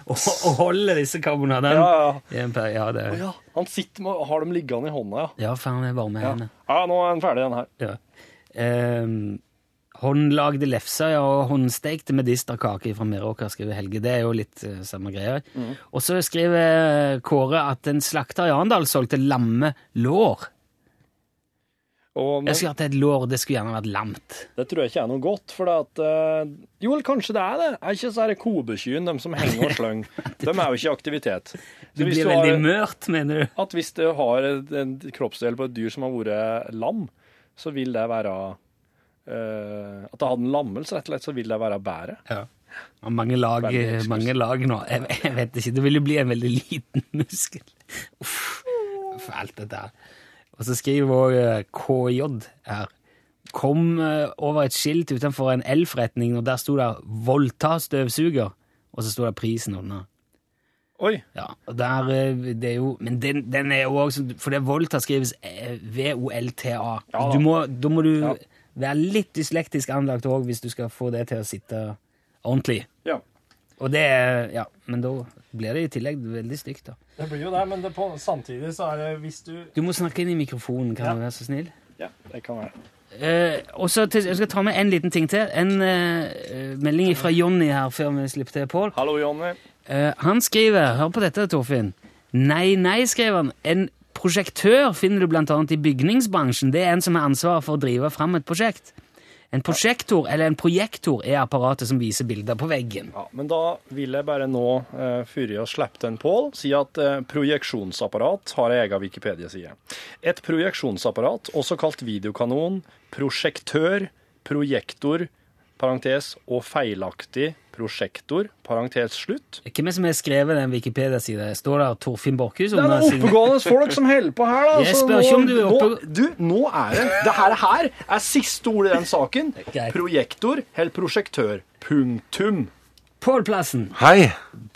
B: og, og holder disse karbonadene.
E: Ja, ja.
B: I en per- ja, det,
E: Å ja. Han sitter med, har dem liggende i hånda, ja.
B: ja, faen, jeg er varme i
E: Ja,
B: hendene.
E: ja nå er han ferdig, den her.
B: Ja. Ehm, håndlagde lefser ja, og håndstekte medisterkake fra Meråker, skriver Helge. Det er jo litt eh, samme greie.
E: Mm.
B: Og så skriver eh, Kåre at en slakter i Arendal solgte lamme lår.
E: Og, men,
B: Jeg skulle hatt et lår, det skulle gjerne vært lamt.
E: det tror jeg ikke er noe godt, for det at eh, Jo, eller kanskje det er det. Er ikke så disse kobekyene, de som henger og slenger, de er jo ikke i aktivitet. Så
B: Det
E: hvis
B: blir
E: du har-
B: veldig mørt, mener du?
E: at hvis du har et- en kroppsdel på et dyr som har vært lam, så vil det være eh, At det hadde en lammelse, rett og slett, så vil det være bedre.
B: Ja, mange, lag, eh,
E: Veldig eksklusivt.
B: mange lag nå. Jeg, jeg vet ikke. Det vil jo bli en veldig liten muskel. Uff, for alt dette her. Og så skriver òg KJ her. Kom eh, over et skilt utenfor en elforretning, og der sto det 'voldta støvsuger', og så sto det prisen under.
E: Oi!
B: Ja, og der, eh, det er jo, men den, den er jo også, for det Volta skrives eh, V-O-L-T-A.
E: Ja da.
B: du må, da må du
E: Ja.
B: være litt dyslektisk anlagt òg hvis du skal få det til å sitte ordentlig.
E: Ja.
B: Og det er, ja, men da blir det i tillegg veldig stygt da.
J: Det blir jo det, men det på, samtidig så er det hvis du
B: Du må snakke inn i mikrofonen, kan du være så snill?
E: ja det kan være.
B: Eh, og så til, jeg skal ta med en liten ting til. En eh, eh, melding fra Jonny her før vi slipper til Pål.
E: Hallo, Jonny.
B: Eh, han skriver, hør på dette, Torfinn. Nei, nei, skrev han. En prosjektør finner du blant annet i bygningsbransjen. Det er en som har ansvaret for å drive fram et prosjekt. En prosjektor, eller en projektor, er apparatet som viser bilder på veggen.
E: Ja, men da vil jeg bare nå, eh, før jeg slipper den Pål, si at eh, projeksjonsapparat har ei egen Wikipedia-side. Et projeksjonsapparat, også kalt videokanon, prosjektør, projektor, parentes, og feilaktig prosjektor, parentes slutt.
B: Hvem er det som har skrevet den Wikipedia-sida? Står der Torfinn Borkhus?
E: Det er
B: under
E: noen
B: sin-
E: oppegående folk som holder på her, da.
B: Jeg
E: så
B: spør
E: nå-
B: ikke om du er oppe-
E: Nå, du, nå er det Det her, her er siste ord i den saken.
B: greit.
E: Projektor eller prosjektør. Punktum.
B: Pål Plassen,
K: Hei!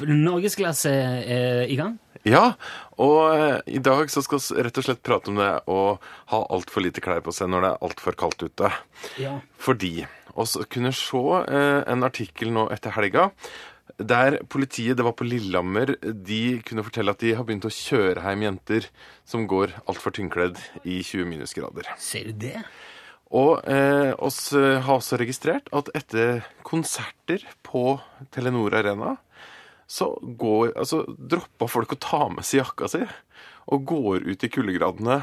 B: norgesklasse er i gang.
K: Ja, og eh, i dag så skal vi rett og slett prate om det å ha altfor lite klær på seg når det er altfor kaldt ute.
B: Ja.
K: Fordi oss kunne se eh, en artikkel nå etter helga der politiet, det var på Lillehammer, de kunne fortelle at de har begynt å kjøre hjem jenter som går altfor tynnkledd i 20 minusgrader.
B: Ser du det?
K: Og eh, oss eh, har også registrert at etter konserter på Telenor Arena, så går, altså, dropper folk å ta med seg jakka si og går ut i kuldegradene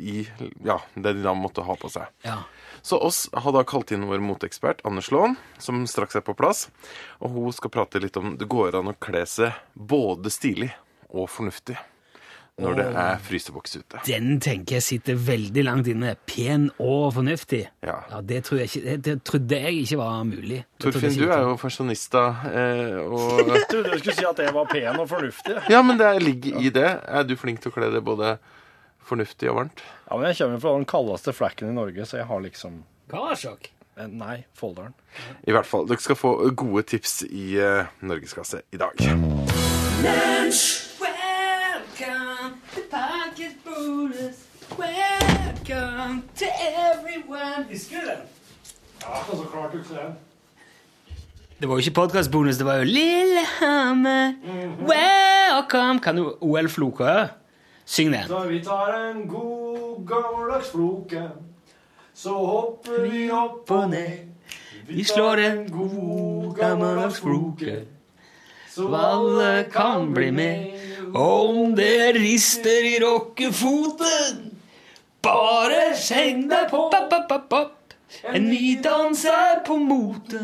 K: i ja, det de da måtte ha på seg.
B: Ja.
K: Så oss har da kalt inn vår moteekspert Anders Laaen, som straks er på plass. Og hun skal prate litt om det går an å kle seg både stilig og fornuftig når det er fryseboks ute.
B: Den tenker jeg sitter veldig langt inne. Pen og fornuftig.
K: Ja.
B: det, tror jeg ikke, det, det trodde jeg ikke var mulig. Det trodde
K: Torfinn,
B: jeg
K: du
B: ikke
K: er
B: var-
K: jo pensjonista, eh, og
E: Jeg trodde jeg skulle si at jeg var pen og fornuftig.
K: Ja, men det ligger i det. Er du flink til å kle deg både fornuftig og varmt?
E: Ja, men Jeg kommer fra den kaldeste flekken i Norge, så jeg har liksom
B: Karasjok.
E: eh, Nei, Folldalen.
K: I hvert fall. Dere skal få gode tips i eh, Norgesklasse i dag.
L: Welcome to Podcast Bonus. Welcome to everyone.
J: Altså,
B: Det var jo ikke podkastbonus, det var jo Lillehammer. Welcome! Kan du OL Flokø? Syng det.
J: Så vi tar en god gammeldags floke, så hopper vi opp og ned.
B: Vi slår en
J: god
B: gammeldags floke,
J: så
B: Og alle kan bli med om det rister i rockefoten. Bare skjeng deg på. Pop, pop, pop, pop. En ny dans er på mote.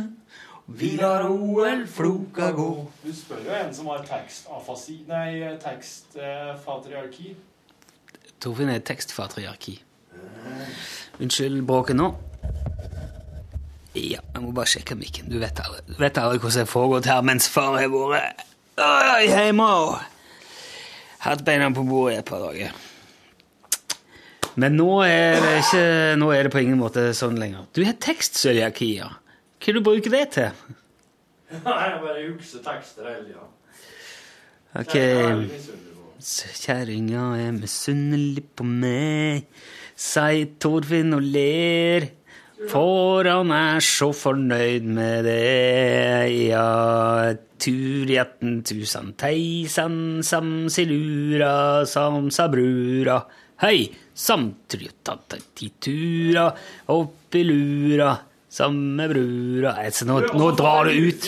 B: Vi lar OL-floka gå.
J: Du spør jo en som har tekstafasi Nei, tekstfatriarki.
B: Torfinn er tekstfatriarki. Unnskyld bråket nå. Ja, jeg må bare sjekke mikken. Du vet aldri, du vet aldri hvordan det foregår her mens far har vært øh, hjemme og hatt beina på bordet i et par dager. Men nå er det ikke, nå er det på ingen måte sånn lenger. Du har tekstsøliaki, ja. Hva du bruker det til?
J: Nei, jeg bare jukser tekster hele tida.
B: Ok,
J: Det er jeg veldig misunnelig på.
B: Så Kjerringa er misunnelig på meg, sier Torfinn og ler. For han er så fornøyd med det, ja. Turjetten tusen teisen, samsilura, samsabrura. Hei, samtrjuttatatitura, oppi lura, samme brura. Nei, så nå, nå drar det ut.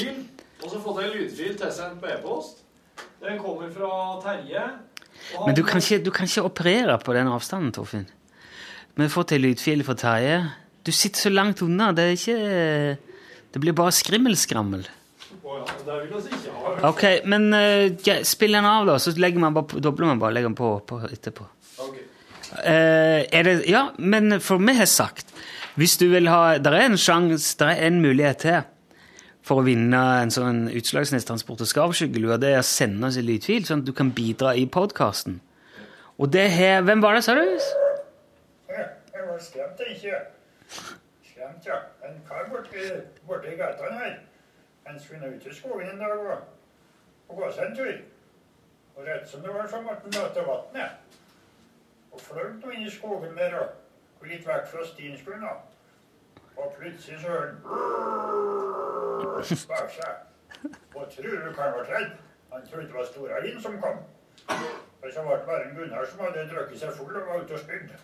M: Og så fått en lydfil tilsendt på e-post. Den kommer fra Terje. Og han-
B: Men du kan, ikke, du kan ikke operere på den avstanden, Torfinn. Vi har fått ei lydfil fra Terje. Du sitter så langt unna. Det er ikke Det blir bare skrimmelskrammel.
M: Å ja, det vil vi altså ikke ha.
B: Ok, men eh, ja, spill den av, da, så legger man bare, på- dobler man bare legger den på, på etterpå.
M: Ok.
B: Eh, er det, ja, men for vi har sagt Hvis du vil ha Det er en sjanse, det er en mulighet til for å vinne en sånn utslagsnedstransport og skarvskyggelue. Det er å sende oss en lydfil, sånn at du kan bidra i podkasten. Og det har Hvem var det, sa du?
N: Jeg var skremt, jeg ikke. Skremt, ja. En kar borti, borti gata her. Han skulle ut i skogen en dag og, og gå seg en tur. Og rett som det var, så måtte han møte vannet. Og fløy nå inn i skogen der og, og litt vekk fra stien skulle han. da. Og plutselig så hører han brrrr bak seg. Og tror du kan være redd? Han trodde det var Storalin som kom. Og så var det bare en Gunnar som hadde drukket seg full og var ute og spydde.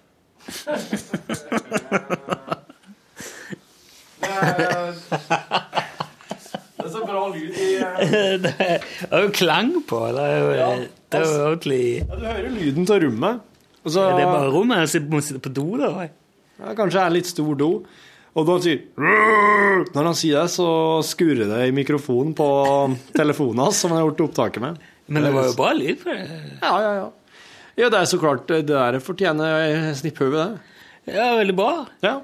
M: Det er så bra lyd i
B: det er jo klang på. Det er jo, det er jo ordentlig
E: Du hører lyden av rommet. Og så,
B: Det er bare rommet her, så jeg må sitte på do, da. oi.
E: Ja, kanskje det er litt stor do. Og da sier Rrrr! Når han sier det, så skurrer det i mikrofonen på telefonen hans, som han har gjort opptaket med.
B: Men det var jo bra lyd på det.
E: Ja, ja, ja. Ja, det er så klart. Det der fortjener snipphøve, det.
B: Ja, veldig bra.
E: Ja.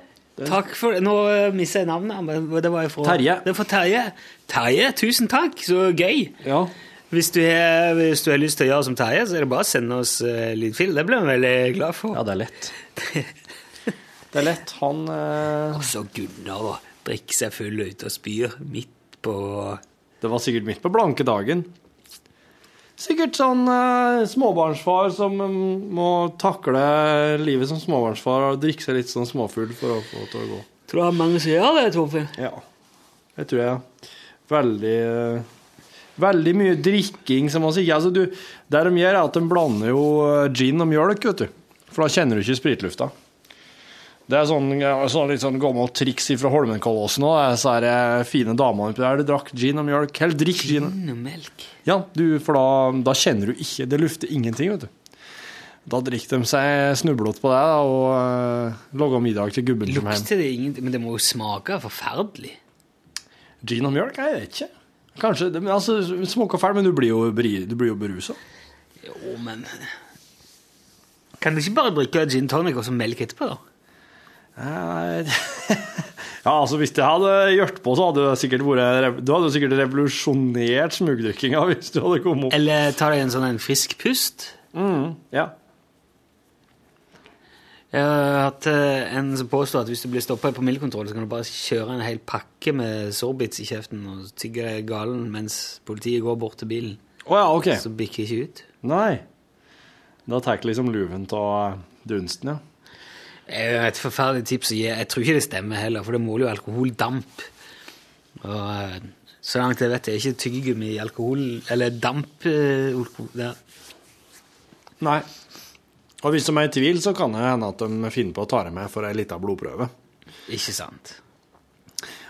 B: Takk for det. Nå mista jeg navnet, men det var jo fra
E: Terje.
B: Det er fra Terje. Terje, tusen takk, så gøy.
E: Ja.
B: Hvis du, har, hvis du har lyst til å gjøre som Terje, så er det bare å sende oss eh, lydfil. Det blir vi veldig glad for.
E: ja, det er lett. Det er lett. Han eh,
B: Og så Gunnar da, drikker seg full ut og spyr midt på
E: Det var sikkert midt på blanke dagen. Sikkert sånn eh, småbarnsfar som mm, må takle livet som småbarnsfar og drikke seg litt sånn småfull for å få det til å gå.
B: Tror du det er mange som gjør det, Torfinn?
E: Ja, det tror jeg. Veldig eh, Veldig mye drikking, som man sier. Altså, du, det de gjør, er at de blander jo eh, gin og mjølk, vet du. For da kjenner du ikke spritlufta. Det er sånn, eh, sånn litt sånn gammelt triks fra Holmenkollåsen òg. Så er det fine damene oppi der. Du drakk gin og mjølk. Eller drikk gin.
B: Vin og melk.
E: Ja, du, for da, da kjenner du ikke Det lufter ingenting, vet du. Da drikker de seg snublete på deg da, og eh, lager middag til gubben som hjem.
B: Lukter det ingenting? Men det må jo smake forferdelig.
E: Gin og mjølk? Jeg vet ikke. Kanskje, det- men altså, Smoker ferdig, men du blir jo, bri- du blir jo berusa.
B: Jo, men Kan du ikke bare drikke gin tonic og så melk etterpå, da?
E: Eh, Ja, altså, hvis jeg hadde gjort på, så hadde det sikkert vært rev- Du hadde jo sikkert revolusjonert smugdrikkinga hvis du hadde kommet opp.
B: Eller ta deg en sånn en frisk pust?
E: Mm, ja.
B: Jeg har hatt eh, en som påstår at hvis du blir stoppa på miljøkontroll, så kan du bare kjøre en hel pakke med sorbits i kjeften og tygge deg galen mens politiet går bort til bilen.
E: Å ja, OK.
B: Så bikker ikke ut.
E: Nei. Da tar jeg liksom luven av dunsten, ja.
B: Det er jo et forferdelig tips å gi. Jeg tror ikke det stemmer heller, for det måler jo alkoholdamp. Og eh, så langt jeg vet, er ikke tyggegummi alkohol Eller damp eh, alkohol, ja.
E: Nei. Og hvis de er i tvil, så kan det hende at de finner på å ta det med for ei lita blodprøve.
B: Ikke sant.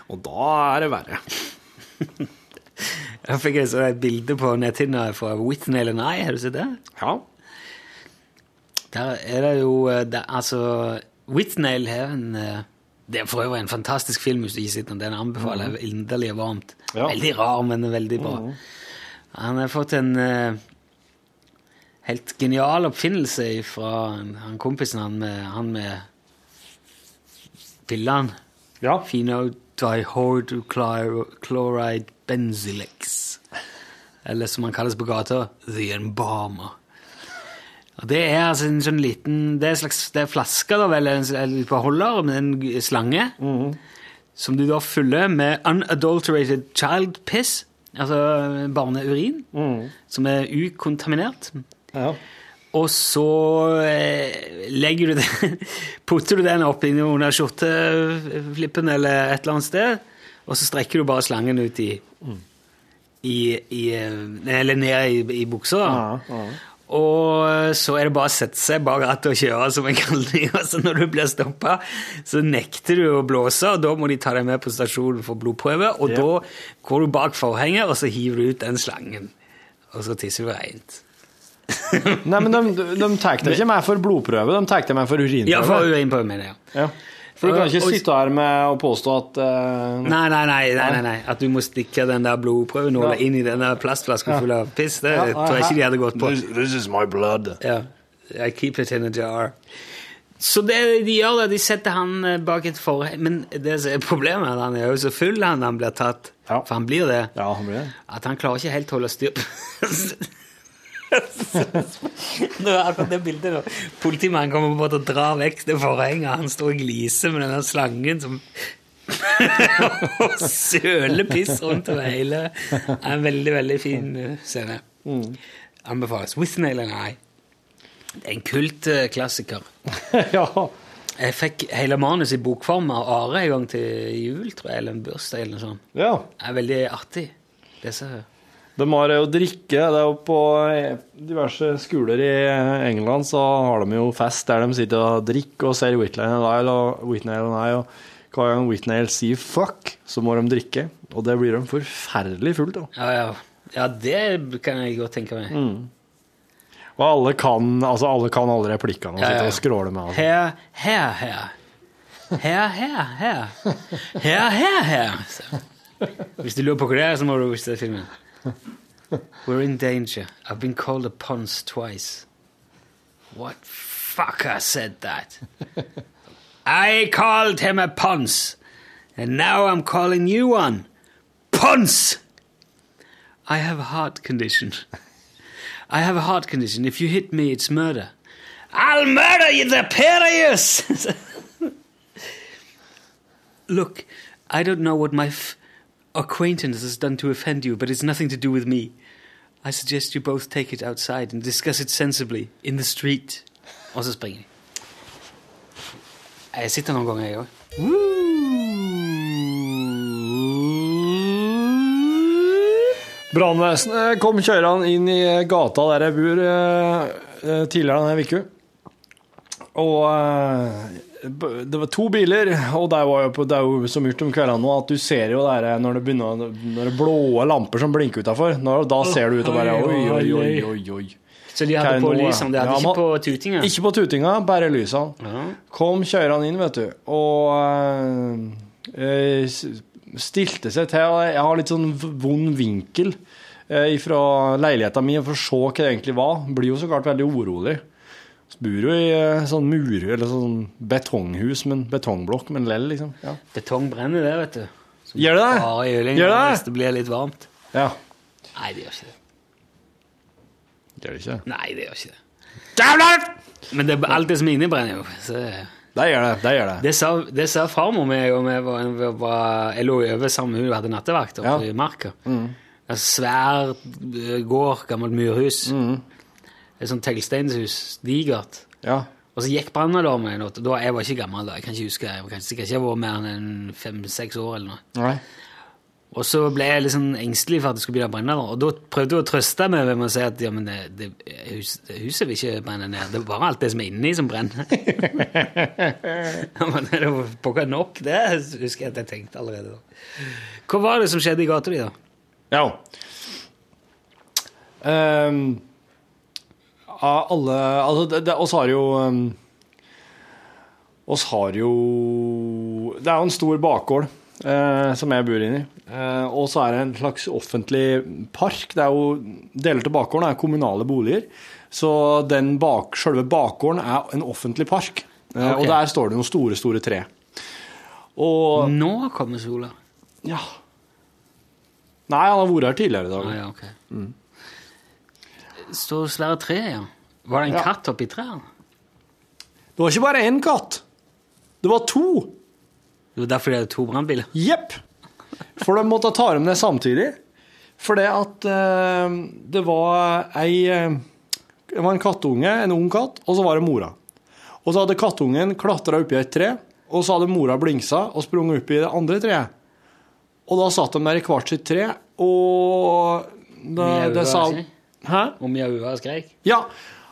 E: Og da er det verre.
B: Jeg fikk jeg så et bilde på netthinna fra Whitney eller Nei, har du sett det?
E: Ja.
B: Der er det jo eh, det, Altså, Whitnail har en eh, Det er for øvrig en fantastisk film, hvis du ikke sitter om den. Anbefaler jeg inderlig og varmt.
E: Mhm. Ja. Mhm.
B: Veldig rar, men veldig bra. Han har fått en eh, helt genial oppfinnelse fra han kompisen han med, han med pillene.
E: Ja.
B: Phenodihydrochloride benzylex. Eller som han kalles på gata, The Embalmer. Og det er altså en sånn liten Det er en slags det er flaske, da vel, en, en beholder med en g- slange, som du da fyller med unadulterated child eh,
E: Mm.
B: piss, altså barneurin, som er ukontaminert.
E: ja.
B: Og så eh, legger du den, putter du den opp inn under skjorteflippen eller et eller annet sted, og så strekker du bare slangen ut i, i, i eh, Eller ned i, i buksa. da. Og så er det bare å sette seg bak rattet og kjøre, som jeg kaller det. Altså, når du blir stoppa, så nekter du å blåse, og da må de ta deg med på stasjonen for blodprøve. Og
E: Ja.
B: da går du bak forhenget, og så hiver du ut den slangen. Og så tisser du reint.
E: Nei, men de, de, de tar deg ikke meg for blodprøve, de tar deg meg for urinprøve.
B: Ja, for urinprøve, mener jeg.
E: Ja. For du kan ikke
B: Og-
E: sitte her med å påstå at eh,
B: Nei, nei, nei, nei, nei, nei. At du må stikke den der blodprøvenåla inn i den der plastflaska
E: Ja.
B: full av piss, det
E: Ja,
B: tror jeg ikke de hadde gått på.
E: This- is my blood.
B: Ja. I keep it in a jar. Så det de gjør, det, de setter han eh, bak et forheng Men det som er problemet er at han er jo så full han, han blir tatt. For han blir det. At han klarer ikke helt å holde styr på Nå er akkurat det bildet nå. Politimannen kommer på en måte og drar vekk det forhenget. Han står og gliser med denne slangen som Og søler piss rundt over hele. Det er en veldig, veldig fin eh, scene. Anbefales. With nail and eye. Det er en kultklassiker.
E: ja.
B: Jeg fikk hele manus i bokform av Are en gang til jul, tror jeg, eller en bursdag eller noe sånt.
E: Ja.
B: Det er veldig artig. Det ser jeg.
E: De har jo drikke. Det er jo på eh, diverse skoler i England så har de jo fest der de sitter og drikker og ser Whitney and I, og Whitney and I, og hver gang Whitney sier fuck, så må de drikke. Og det blir de forferdelig fullt av.
B: Ja, ja. ja, det kan jeg godt tenke meg.
E: Mm. Og alle kan, altså alle kan alle replikkene og
B: Ja, ja,
E: sitter
B: ja.
E: og skråler med altså.
B: Her, her, her. Her, her, her. Her, her, her. Så. Hvis du lurer på hva det er, så må du se filmen. We're in danger. I've been called a punce twice. What fucker said that? I called him a punce. And now I'm calling you one. Punce! I have a heart condition. I have a heart condition. If you hit me, it's murder. I'll murder you, the Piraeus! Look, I don't know what my f- acquaintance has done to offend you, but it's nothing to do with me. I suggest you both take it outside and discuss it sensibly in the street. Og så springer de. Jeg sitter noen ganger, jeg òg.
E: Brannvesenet kom kjørende inn i gata der jeg bor eh, eh, tidligere denne uka. Og eh, b- det var to biler, og det, var jo på, det er jo så mørkt om kveldene nå at du ser jo det her når det begynner å- når det er blå lamper som blinker utafor. Da ser du ut og bare oi, oi, oi. oi.
B: Så de hadde
E: Hva er
B: på
E: nå, ja?
B: lysene, de hadde
E: Ja,
B: ikke på
E: man-
B: tutinga?
E: Ikke på tutinga, bare lysene. Kom kjørende inn, vet du, og eh, s- stilte seg til. og Jeg har litt sånn v- vond vinkel eh, fra leiligheta mi for å se hva det egentlig var. Blir jo så klart veldig urolig. Så bor jo i eh, sånn mur, eller sånn betonghus, men betongblokk, men lell, liksom. Ja.
B: Betong brenner, det, er vet du. Som
E: Gjør det det?
B: Bare i juling,
E: Gjør det det?
B: Hvis det blir litt varmt.
E: Ja.
B: Nei, det er gjør ikke det.
E: Gjør det ikke?
B: Nei, det gjør ikke det. Jævlar! Men det, alt det som er inni, brenner jo. Så.
E: Det gjør det. Det gjør det.
B: Det sa, det sa farmor meg og jeg, var, vi var, jeg lå over sammen med hun og hadde nattevakt oppe i marka. En svær eh, gård, gammelt murhus.
E: Mm.
B: Et sånt teglsteinshus. Digert. Og så gikk brannalarmen. en natt, og da- Jeg var ikke gammel da, jeg kan ikke huske. det. Jeg var kanskje sikkert ikke vært mer enn fem-seks år eller noe.
E: Nei.
B: Og så ble jeg litt sånn engstelig for at det skulle begynne å brenne. da. Og da prøvde hun å trøste meg ved å si at ja, men det, det, hus, det huset vil ikke brenne ned, det er bare alt det som er inni som brenner. ja, men det er jo pokker nok, det husker jeg at jeg tenkte allerede da. Hva var det som skjedde i gata di, da?
E: Ja. Ehm, av alle Altså, det- det- oss har jo ehm, Oss har jo Det er jo en stor bakgård eh, som jeg bor inni. Eh, og så er det en slags offentlig park. Det er jo Deler av bakgården er kommunale boliger. Så den bak, selve bakgården er en offentlig park. Eh,
B: Ok.
E: Og der står det noen store, store tre. Og
B: Nå kommer sola.
E: Ja. Nei, han har vært her tidligere i dag.
B: Ah, ja, ok.
E: Mm.
B: Så svære tre, ja. Var det en katt oppi trærne?
E: Det var ikke bare én katt. Det var to.
B: Det var derfor det er to brannbiler?
E: Jepp. For de måtte ta dem ned samtidig. For det at eh, det var ei eh, det var en kattunge, en ung katt, og så var det mora. Og så hadde kattungen klatra oppi et tre, og så hadde mora blingsa og sprunget opp i det andre treet. Og da satt de der i hvert sitt tre, og da,
B: Mjaua,
E: det sa
B: sier.
E: Hæ?
B: Og mjaua skreik.
E: Ja,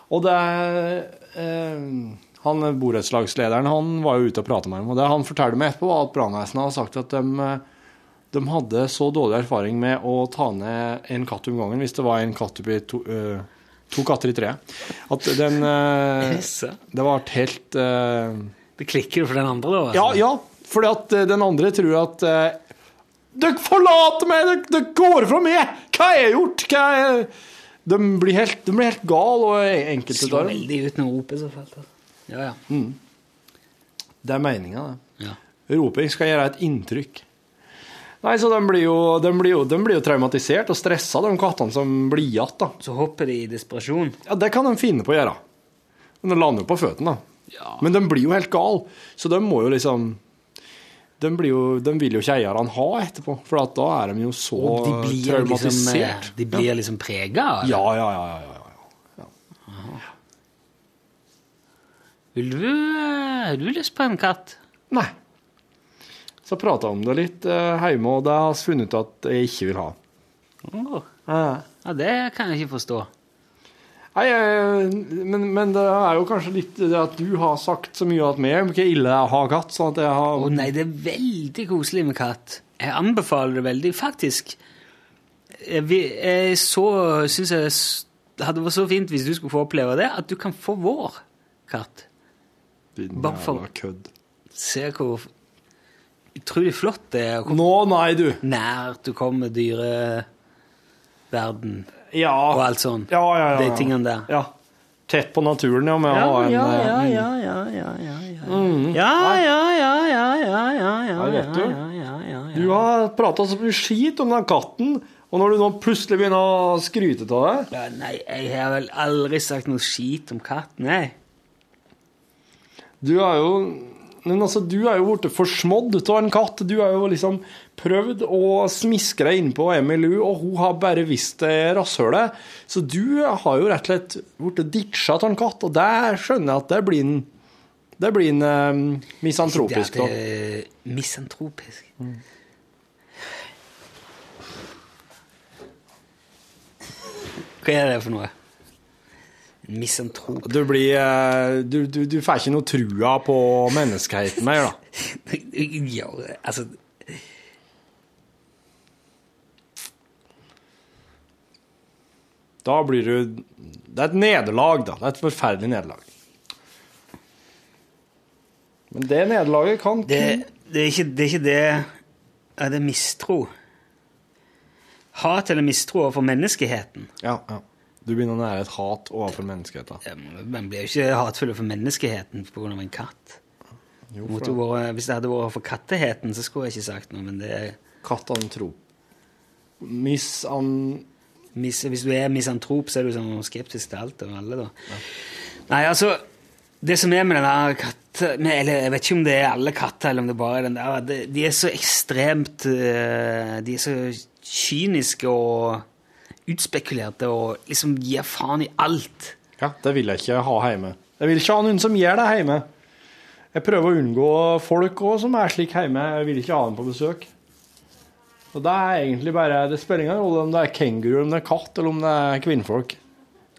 E: og det eh, Han borettslagslederen han var jo ute og pratet med dem, og det han fortalte meg etterpå, var at brannvesenet hadde sagt at de, eh, de hadde så dårlig erfaring med å ta ned en katt om gangen hvis det var en katt oppi to, eh, to katter i treet. At den eh,
B: Jaså.
E: Det var et helt eh,
B: Det klikker jo for den andre, da. altså.
E: Ja, ja, fordi at eh, den andre tror at eh, Dere forlater meg! Dere, dere går fra meg! Hva har jeg gjort? Hva har jeg... De blir helt, de blir helt gal, og enkelte
B: Slår
E: av dem.
B: veldig ut når opet så fælt. altså. Ja, ja.
E: Mm. Det er meninga, det.
B: Ja.
E: Roping skal gjøre et inntrykk. Nei, så de blir jo, de blir jo, de blir jo traumatisert og stressa, de kattene som blir igjen. da.
B: Så hopper de i desperasjon?
E: Ja, det kan de finne på å gjøre. Men de lander jo på føttene, da. Men de blir jo helt gal, så de må jo liksom De, blir jo, de vil jo ikke eierne ha etterpå, for at da er de jo så
B: Og de blir liksom, eh,
E: traumatisert.
B: de blir liksom prega? eller?
E: Ja, ja, ja. ja, ja, ja.
B: Vil du, eh, har du lyst på en katt?
E: Nei. Så prata om det litt eh, hjemme, og det har vi funnet ut at jeg ikke vil ha.
B: Åh,
E: Eh,
B: Ja, det kan jeg ikke forstå.
E: Nei, eh, men, men det er jo kanskje litt det at du har sagt så mye at meg hvor ille det er å ha katt. sånn at jeg har...
B: Å nei, det er veldig koselig med katt. Jeg anbefaler det veldig, faktisk. Jeg, vi- jeg så syns jeg s- det hadde vært så fint hvis du skulle få oppleve det, at du kan få vår katt.
E: Din
B: bare for-
E: jævla kødd.
B: Se hvor utrolig flott det er å komme
E: Nå, nei, du.
B: nært du kommer dyreverden
E: Ja.
B: og alt sånn.
E: Ah. Ja, ja, ja, ja.
B: De tingene der.
E: Ja. Tett på naturen, ja. Med å ha en, eh,
B: ja, ja, ja, ja.
E: Mm.
B: Ja, ja, ja, ja, ja, ja, ja,
E: Ja, vet du.
B: ja, ja, ja, ja.
E: Du har prata så mye skit om den katten, og når du nå plutselig begynner å skryte av det
B: Ja, Nei, jeg har vel aldri sagt noe skit om katt, nei.
E: Du er jo men altså, du er jo blitt forsmådd av en katt. Du har jo liksom prøvd å smiske deg innpå Emilu, og hun har bare visst det rasshølet. Så du har jo rett og slett blitt ditcha av en katt, og det skjønner jeg at det blir en, det blir en eh, misantropisk.
B: Det
E: da. Mm.
B: er eh, misantropisk. Hva er det for noe? En Misantrop?
E: Du blir eh, Du, du, du får ikke noe trua på menneskeheten mer, da.
B: Ja, altså
E: Da blir du Det er et nederlag, da. Det er et forferdelig nederlag. Men det nederlaget kan
B: det, det, er ikke, det er ikke det Ja, det er mistro. Hat eller mistro overfor menneskeheten.
E: Ja, ja. Du begynner å nære et hat overfor menneskeheten.
B: Ja, men Man blir jo ikke hatefull overfor menneskeheten pga. en katt.
E: Jo,
B: Måtte jo være- hvis det hadde vært for katteheten, så skulle jeg ikke sagt noe, men det er
E: Katantrop. Misan...
B: Mis, hvis du er misantrop, så er du sånn skeptisk til alt og alle, da. Nei, altså Det som er med den der katten med- Eller jeg vet ikke om det er alle katter, eller om det bare er den der De, de er så ekstremt eh, De er så kyniske og utspekulerte og liksom gir faen i alt.
E: Ja, det vil jeg ikke ha hjemme. Jeg vil ikke ha noen som gjør det hjemme. Jeg prøver å unngå folk også som er slik hjemme. Jeg vil ikke ha dem på besøk. Og det er egentlig bare Det spiller ingen rolle om det er kenguru, om det er katt, eller om det er kvinnfolk.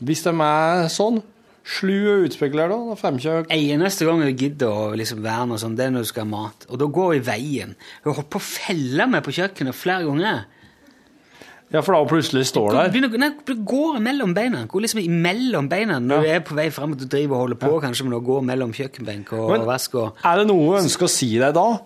E: Hvis de er sånn, slu og utspekuler, da. Da får de ikke
B: Eneste gang hun gidder å liksom være noe sånn, det er når hun skal ha mat. Og da går hun i veien. Hun hopper og feller meg på kjøkkenet flere ganger.
E: Ja, for da plutselig står der.
B: Begynner, nei, du går mellom beina. Går liksom imellom beina når du er på vei frem og du driver og holder på, kanskje, men du går mellom kjøkkenbenk og
E: Men-
B: vask og
E: Er det noe hun ønsker å si deg da?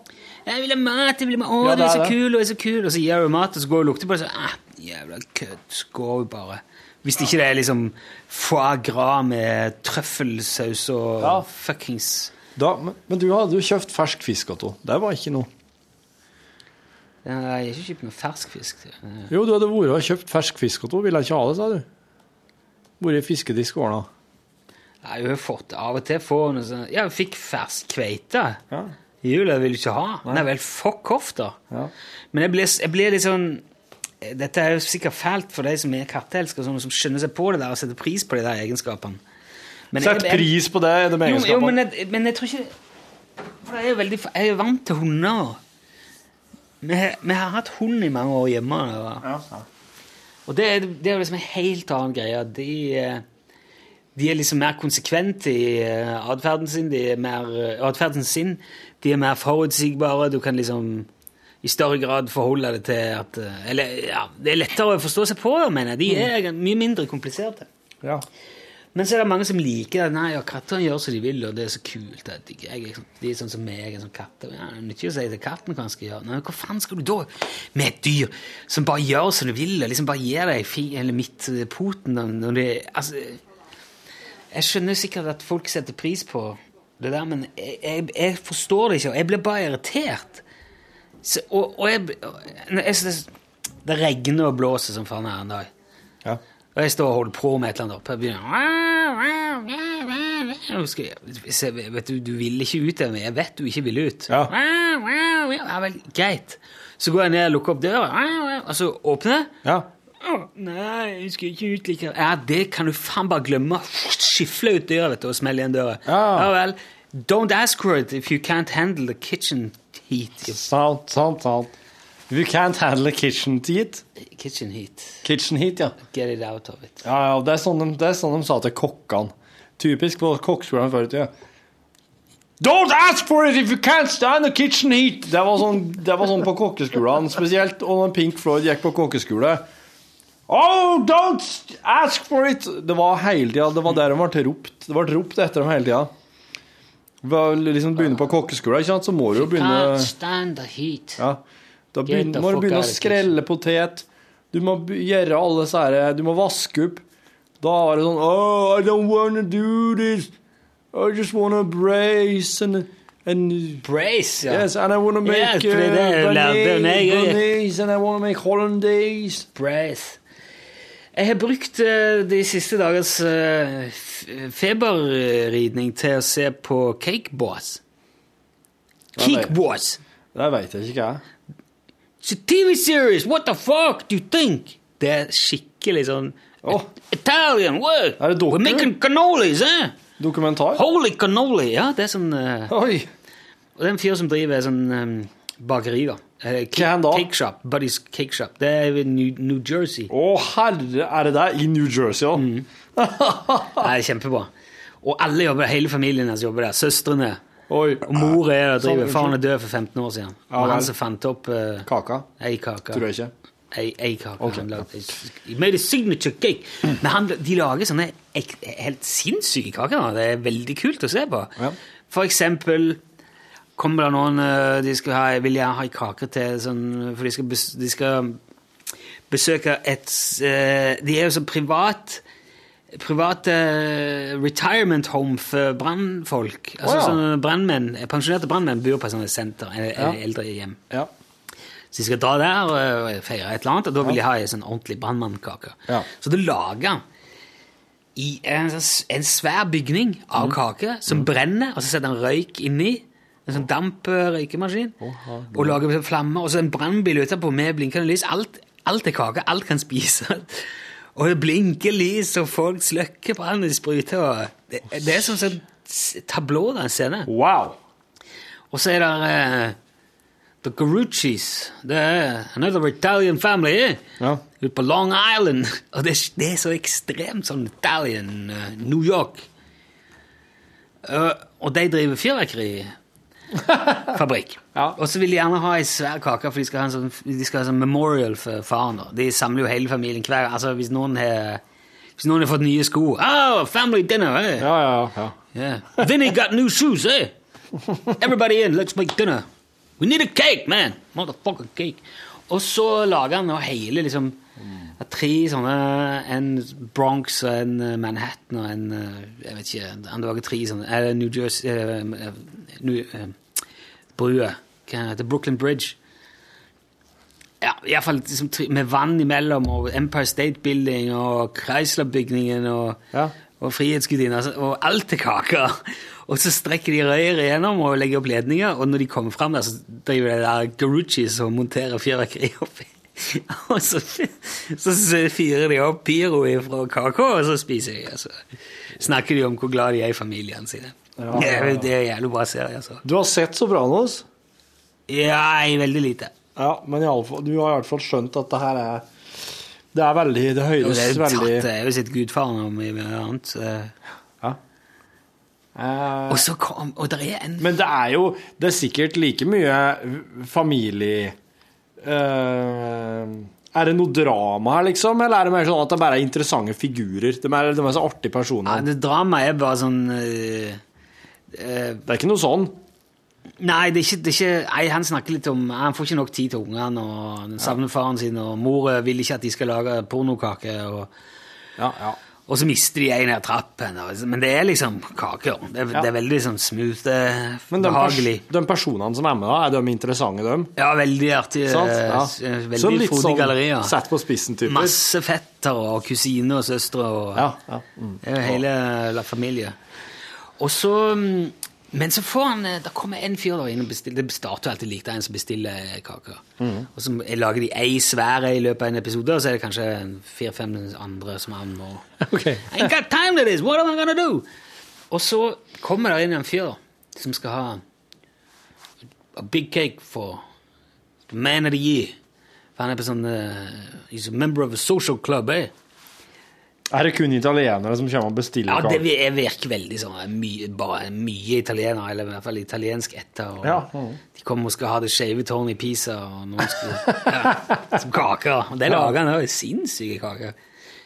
B: 'Jeg vil ha mat, jeg vil ha mat, å, du
E: Ja, det
B: er
E: er
B: så
E: det.
B: kul, du er så kul', og så gir du mat, og så går du og lukter på det, så ah, 'Jævla kødd', så går du bare. Hvis ikke det er liksom foie gras med trøffelsaus og
E: Ja.
B: fuckings
E: Da, men, men du hadde jo kjøpt fersk fisk, Otto. Det var ikke noe.
B: Nei, Jeg har ikke kjøpt noe fersk fisk. Eh,
E: Jo, du hadde vært og kjøpt fersk fisk, Otto. Ville ikke ha det, sa du. Vært i fiskedisk og ordna.
B: Nei, hun har fått av og til får hun noe sånn Ja, hun fikk fersk kveite.
E: Ja.
B: I jula vil du ikke ha. Nei vel, fuck off, da.
E: Ja.
B: Men jeg blir, jeg blir litt sånn Dette er jo sikkert fælt for de som er katteelskere, sånne som skjønner seg på det der og setter pris på de der egenskapene. Men jeg-
E: Sett
B: jeg-
E: pris på det, de
B: Jo,
E: egenskapene.
B: Jo, men jeg, men jeg tror ikke For jeg er jo veldig jeg er jo vant til hunder. Vi, har- vi har hatt hund i mange år hjemme. Og, og det, er- det er jo liksom en helt annen greie. De, eh, de er liksom mer konsekvente i eh, atferden sin. De er mer, eh, atferden sin. De er mer forutsigbare. Du kan liksom i større grad forholde deg til at eh, Eller ja, det er lettere å forstå seg på, da, mener jeg. De er mye mindre kompliserte.
E: Ja.
B: Men så er det mange som liker det. Nei, ja, kattene gjør som de vil, og det er så kult. det er digg. Jeg, er sånn- de er sånn som meg, jeg er sånn katter. Ja, det nytter ikke å si til katten hva han skal gjøre. Nei, men hva faen skal du da med et dyr som bare gjør som du vil, og liksom bare gir deg fi, eller midt eh, poten når- når det Altså, jeg skjønner sikkert at folk setter pris på det der, men jeg, jeg, jeg forstår det ikke, og jeg blir bare irritert. Så, og, og jeg, jeg, jeg, synes Det regner og blåser som faen her en dag. Og jeg står og holder på med et eller annet oppe. Jeg begynner «Au, au, skal jeg- se, Vet du, du vil ikke ut ennå. Jeg vet du ikke vil ut. Ja. ja vel, greit. Så går jeg ned og lukker opp døra, «Au, au», og så åpner jeg. «Å, Nei, jeg skal ikke ut likevel. Ja, det kan du faen bare glemme. Skifle ut døra vet du, og smelle igjen døra. Ja. vel. Don't ask for it if you can't handle the kitchen heat.
E: Sant, sant, sant. You can't handle kitchen heat.
B: Kitchen heat.
E: Kitchen heat, ja.
B: Get it out of it.
E: Ja, ja, det er sånn de, det er sånn de sa til kokkene. Typisk på kokkeskolen før i tida. Don't ask for it if you can't stand the kitchen heat! Det var sånn, det var sånn på kokkeskolen, spesielt og når Pink Floyd gikk på kokkeskole. Oh, don't ask for it! Det var hele tida, det var der de ble ropt. Det ble ropt etter dem hele tida. Ved å Liksom begynne på kokkeskolen, ikke sant, så må du jo begynne
B: Can't stand the heat.
E: ja. Da
B: Get
E: begyn-
B: the
E: må du
B: fuck
E: begynne
B: out
E: å
B: of
E: skrelle potet. Du må be- gjøre alle disse her eh, Du må vaske opp. Da er det sånn Oh, I don't wanna do this. I just wanna brace and, and
B: Brace, ja.
E: Yes, and I wanna
B: Ja,
E: make
B: for det er det
E: uh,
B: jeg lærte, nei,
E: bearnés,
B: jeg-
E: bearnés, and I wanna make hollandaise.
B: Brace. Jeg har brukt eh, de siste dagers eh, f- feberridning til å se på Cake Boss. Cake Boss!
E: Det veit jeg ikke, jeg.
B: It's a TV series! What the fuck do you think? Det er skikkelig sånn Italian! What?
E: Er det dokker?
B: We're making cannolis, eh?
E: Dokumentar?
B: Holy cannoli! Ja, det er sånn eh,
E: Oi!
B: Og det er en fyr som driver sånn eh, bakeri, da. Eh, cake, Cake shop. Buddy's cake shop. Det er i New, New Jersey.
E: Å, herre, er det der? I New Jersey, da?
B: Mm. Det er kjempebra. Og alle jobber der, hele familien hans jobber der. Søstrene.
E: Og
B: mor er der og driver.
E: Sånn,
B: Faren er død for 15 år siden.
E: Ja,
B: Og
E: vel.
B: han som fant opp eh,
E: Kaka?
B: ei kake.
E: Tror jeg ikke.
B: Ei, ei kake. Han lagde, he made a signature cake. Men han, de lager sånne ek, helt sinnssyke kaker. da. Det er veldig kult å se på. For eksempel kommer det noen eh, de skal ha, vil jeg ha ei kake til, sånn, for de skal, bes, de skal besøke et eh, De er jo sånn privat private retirement home for brannfolk. Altså
E: Å, ja.
B: sånne brandmenn, Pensjonerte brannmenn bor på sånne senter, eller eller eldrehjem. Så de skal dra der og eh, feire et eller annet, og da vil de ha ei sånn ordentlig brannmannkake.
E: Ja.
B: Så du lager han i en, sånn s- en svær bygning av kake som brenner, og så setter han røyk inni. En sånn damp-røykemaskin. Og lager sånn flammer. Og så en brannbil utenpå med blinkende lys. Alt, alt er kake. Alt kan spises. Og det blinker lys, og folk slukker brannen, de spruter og det, det er som sånn s- tablå av en scene.
E: Wow!
B: Og så er det eh, The Garucci's. Det er another Italian family. eh?
E: Ja.
B: Ute på Long Island. Og det, er- det er så ekstremt sånn Italian, eh, New York. Eh, og de driver fyrverkerifabrikk. Og så vil de gjerne ha ei svær kake, for de skal ha en sånn, de skal ha en sånn memorial for faren. Da. De samler jo hele familien hver altså Hvis noen har, hvis noen har fått nye sko Oh, family dinner! Eh.
E: Ja, ja, ja.
B: Yeah. Vinny got new shoes, eh? Everybody in, let's make dinner. We need a cake, man! Motherfucking cake. Og så lager han nå hele liksom tre sånne En Bronx og en eh, Manhattan og en eh, Jeg vet ikke Han lager tre sånne eh, New Jersey eh, eh, New, eh, Brua. Hva heter det? Brooklyn Bridge. Ja, i hvert fall liksom, tre- med vann imellom, og Empire State Building, og Chrysler-bygningen, og, og Frihetsgudinnen, altså, og alt er kaker. Og så strekker de røyer igjennom og altså, legger opp ledninger, og når de kommer fram der, så driver de der Garucci's og monterer fyrverkeri oppi. og så, så fyrer de opp pyro fra kaka, og så spiser de. Altså. Snakker de om hvor glad de er i familien sine.
E: Ja.
B: Det, er- det er en jævlig bra serie, altså.
E: Du har sett Sopranos?
B: Nei, veldig lite.
E: Ja, men i alle fall, du har i hvert fall skjønt at det her er Det er veldig Det
B: Jo,
E: høres
B: det er jo tatt,
E: veldig
B: det er jo sitt gudfaren og mye mye annet. så-
E: Og
B: så kom Og det er en
E: Eh, Men det er jo Det er sikkert like mye familie eh, Er det noe drama her, liksom? Eller er det mer sånn at det bare er interessante figurer? De er, de er så artige personer.
B: Ja, det dramaet er bare sånn Det
E: er ikke noe sånn?
B: Nei, det er ikke, det er ikke nei, han snakker litt om Han får ikke nok tid til ungene, og han savner faren sin, og mor eh, vil ikke at de skal lage pornokake. Og, og så mister de en av trappen. og- Men det er liksom kaker. Det, er-
E: Ja.
B: det er veldig sånn smooth, det er
E: Men de, pers
B: behagelig.
E: de personene som er med, da, er de interessante, dem?
B: Ja, veldig artig.
E: Sant?
B: eh,
E: Ja.
B: s- eh,
E: Så
B: Veldig
E: litt
B: frodig
E: sånn
B: galleri. ja.
E: Sett på spissen-typer.
B: Masse fetter og kusiner og søstre og Det er jo Mm. hele la familie. Og så mm, Men så får han eh, Der kommer en fyr der inn og bestiller Det starter jo alltid likt, det er en som bestiller kaker. Og så lager de ei svære i løpet av en episode, og så er det kanskje fire-fem andre som han må I ain't got time to this, what am I gonna do? Og så kommer det inn en fyr som skal ha a big cake for the man of the year. For han er på sånn eh, He's a member of a social club, eh?
E: Er det kun italienere som kommer og bestiller
B: Ja, det
E: kake?
B: vi- jeg virker veldig sånn eh, mye, bare mye italienere, eller i hvert fall italiensk etter. Og
E: Ja. Mhm.
B: De kommer og skal ha det skjeve tårnet i Pisa, og noen skal, ja, som kaker. Og det lager han òg. Sinnssyke kaker.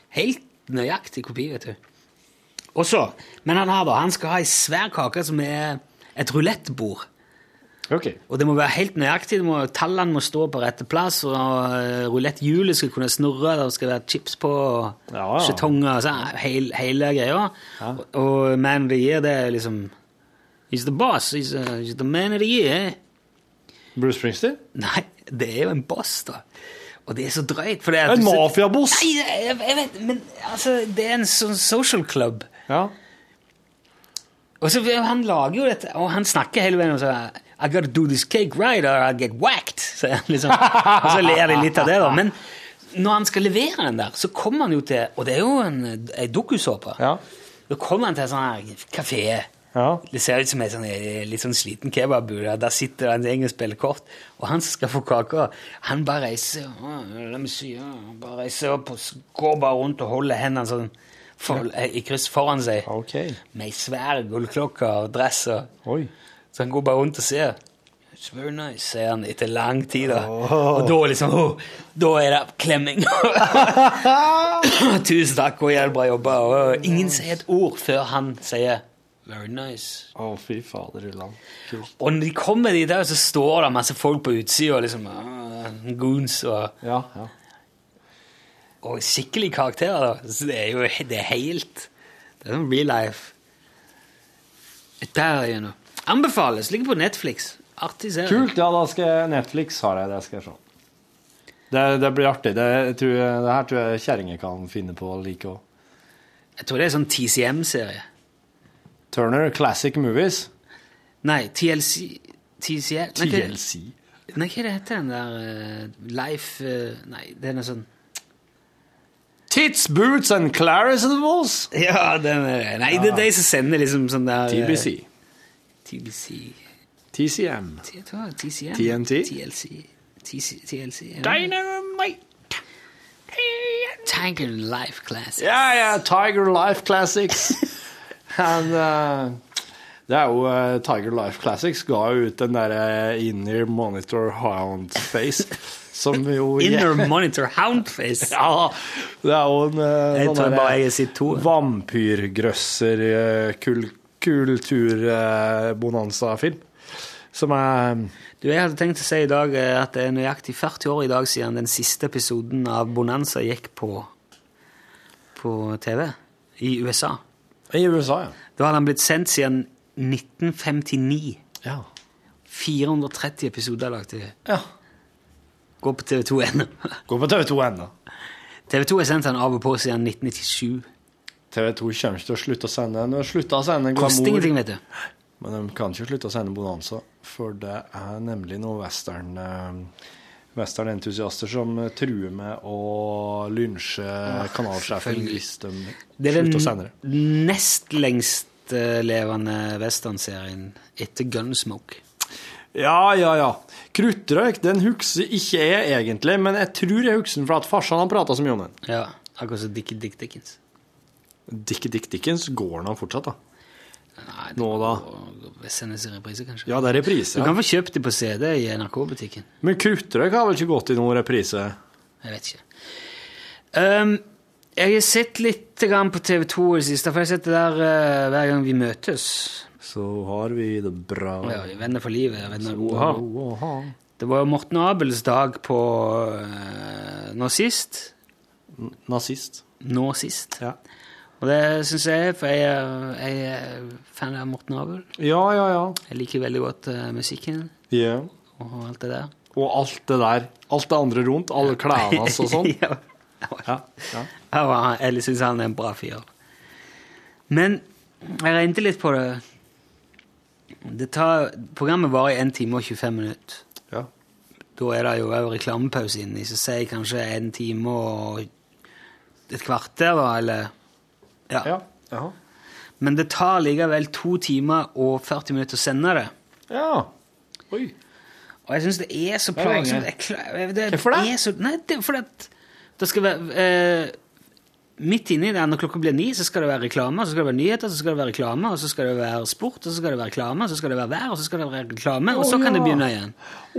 B: Helt nøyaktig kopi, vet du. Og så, Men han har da, han skal ha ei svær kake som er et rulettbord. Og det må være helt nøyaktig. Det må, tallene må stå på rette plass, og eh, ruletthjulet skal kunne snurre, det skal være chips på, og
E: Ja, ja.
B: skjetonger og sånn. Hele, hele greia. Og, og Man of the Year, det er liksom He's the boss. He's, uh, he's the man of the year.
E: Bruce Springsteen?
B: Nei, det er jo en boss, da. Og det er så drøyt. For det er
E: En mafiaboss?
B: Nei, jeg, jeg vet Men altså, det er en sånn social club.
E: Ja.
B: Og så eh, Han lager jo dette, og han snakker hele veien og sier I gotta do this cake right or I'll get whacked. Så jeg liksom, og så ler de litt av det, da. Men når han skal levere den der, så kommer han jo til Og det er jo en, en dokusåpe. Da kommer han til en sånn her kafé. Det ser ut som en sånn, eh, litt sånn sliten kebabbude. og Der sitter en gjeng og spiller kort. Og han som skal få kaka, han bare reiser «Åh, la meg si, ja», han bare reiser opp og s- går bare rundt og holder hendene sånn for, eh, i kryss foran seg. Med ei svær gullklokke og dress. Og, Så han går bare rundt og ser. It's very nice, sier han etter lang tid. da. Og da liksom «Åh, Da er det klemming. Tusen takk, og jævlig bra jobba. Og øh, ingen sier et ord før han sier Very nice.
E: Å, fy fader, Ulland. Kult.
B: Og når de kommer dit der, så står det masse folk på utsida, liksom «Ah, goons og Og skikkelig karakterer, da. Så det er jo he- det er helt Det er sånn real life. Der igjen. Anbefales. Ligger på Netflix. Artig serie.
E: Kult, ja, da skal jeg Netflix har jeg, det skal jeg se. Det, det blir artig. Det, jeg tror, det her tror jeg kjerringer kan finne på å like òg.
B: Jeg tror det er sånn TCM-serie.
E: Turner Classic Movies.
B: Nei, TLC TCL? Nei, hva-
E: TLC.
B: Nei, hva er det heter den der eh, Life eh, Nei, det er noe sånn
E: Tits, Boots and Clarissables.
B: Ja, den er Nei, det er de som sender liksom sånn der eh,
E: TBC.
B: TBC
E: TCM.
B: T- hva er det? TCM?
E: TNT?
B: TLC? TC, TLC er det?
E: Dynamite!
B: Tiger Life Classic.
E: Ja, ja, Tiger Life Classics. And, eh, det er jo eh, Tiger Life Classics ga jo ut den derre Inner Monitor Hound Face, som jo
B: Inner Monitor Houndface.
E: Ja, det er jo en eh,
B: Jeg
E: sånn
B: tror
E: der,
B: bare jeg
E: eh, Vampyrgrøsser eh, kul, kulturbonanza-film. Som er
B: Du, Jeg hadde tenkt å si i dag eh, at det er nøyaktig 40 år i dag siden den siste episoden av Bonanza gikk på, på TV i USA.
E: eh, I USA, ja.
B: Da hadde han blitt sendt siden 1959.
E: Ja.
B: 430 episoder er lagt til.
E: Ja.
B: Gå på TV2 ennå.
E: Gå på TV2 ennå.
B: TV2 har sendt han av og på siden 1997.
E: TV2 kommer ikke til å slutte å sende den. De har sluttet å sende
B: Koster
E: glamour.
B: ingenting, vet du.
E: Men de kan ikke slutte å sende Bonanza, for det er nemlig noe western eh, westernentusiaster som eh, truer med å lynsje kanalsjefen
B: selvfølgelig.
E: hvis de
B: Det er
E: slutter
B: den
E: senere.
B: nest lengstlevende westernserien etter Gunsmoke.
E: Ja, ja, ja. Kruttrøyk, den husker ikke jeg egentlig, men jeg tror jeg husker den for at farsan har prata så mye om den.
B: Ja, akkurat som Dickie Dick Dickens.
E: Dickie Dick Dickens går den av fortsatt, da.
B: Nei,
E: Nå da.
B: det sendes i reprise, kanskje.
E: Ja, det er reprise.
B: Du
E: Ja.
B: kan få kjøpt det på CD i NRK-butikken.
E: Men Kruttrøyk har vel ikke gått i noen reprise?
B: Jeg vet ikke. Ehm, jeg har sett litt grann på TV 2 i det siste, for jeg har sett det der eh, hver gang vi møtes.
E: Så har vi det bra
B: Ja, vi venner for livet. Venner.
E: Oha.
B: Det var jo Morten Abels dag på eh, nå sist.
E: Nazist.
B: Nå sist.
E: Ja.
B: Og det syns jeg, for jeg, er- jeg er fan av Morten Abel.
E: Ja, ja, ja.
B: Jeg liker veldig godt eh, musikken
E: Ja.
B: og alt det der.
E: Og alt det der. Alt det andre rundt. Alle klærne hans og sånn.
B: ja.
E: Ja, ja.
B: Jeg var- Jeg syns han er en bra fyr. Men jeg regnet litt på det. det tar, programmet varer i 1 time og 25 minutter.
E: Ja.
B: Da er det jo òg reklamepause inni, så sier jeg kanskje 1 time og et kvarter, da, eller Ja.
E: Ja. Ja.
B: Men det tar likevel to timer og 40 minutter å sende det.
E: Ja. Oi.
B: Og jeg syns det er så
E: Det er lenge.
B: plagsomt. Jeg klar- det
E: Hvorfor det?
B: Er så, nei, det er fordi at det skal være eh, Midt inni der, når klokka blir ni, så skal det være reklame, så skal det være nyheter, så skal det være reklame, og så skal det være sport, og så skal det være reklame, så skal det være vær, og så skal det være reklame, og
E: Å,
B: så kan det
E: ja.
B: begynne igjen.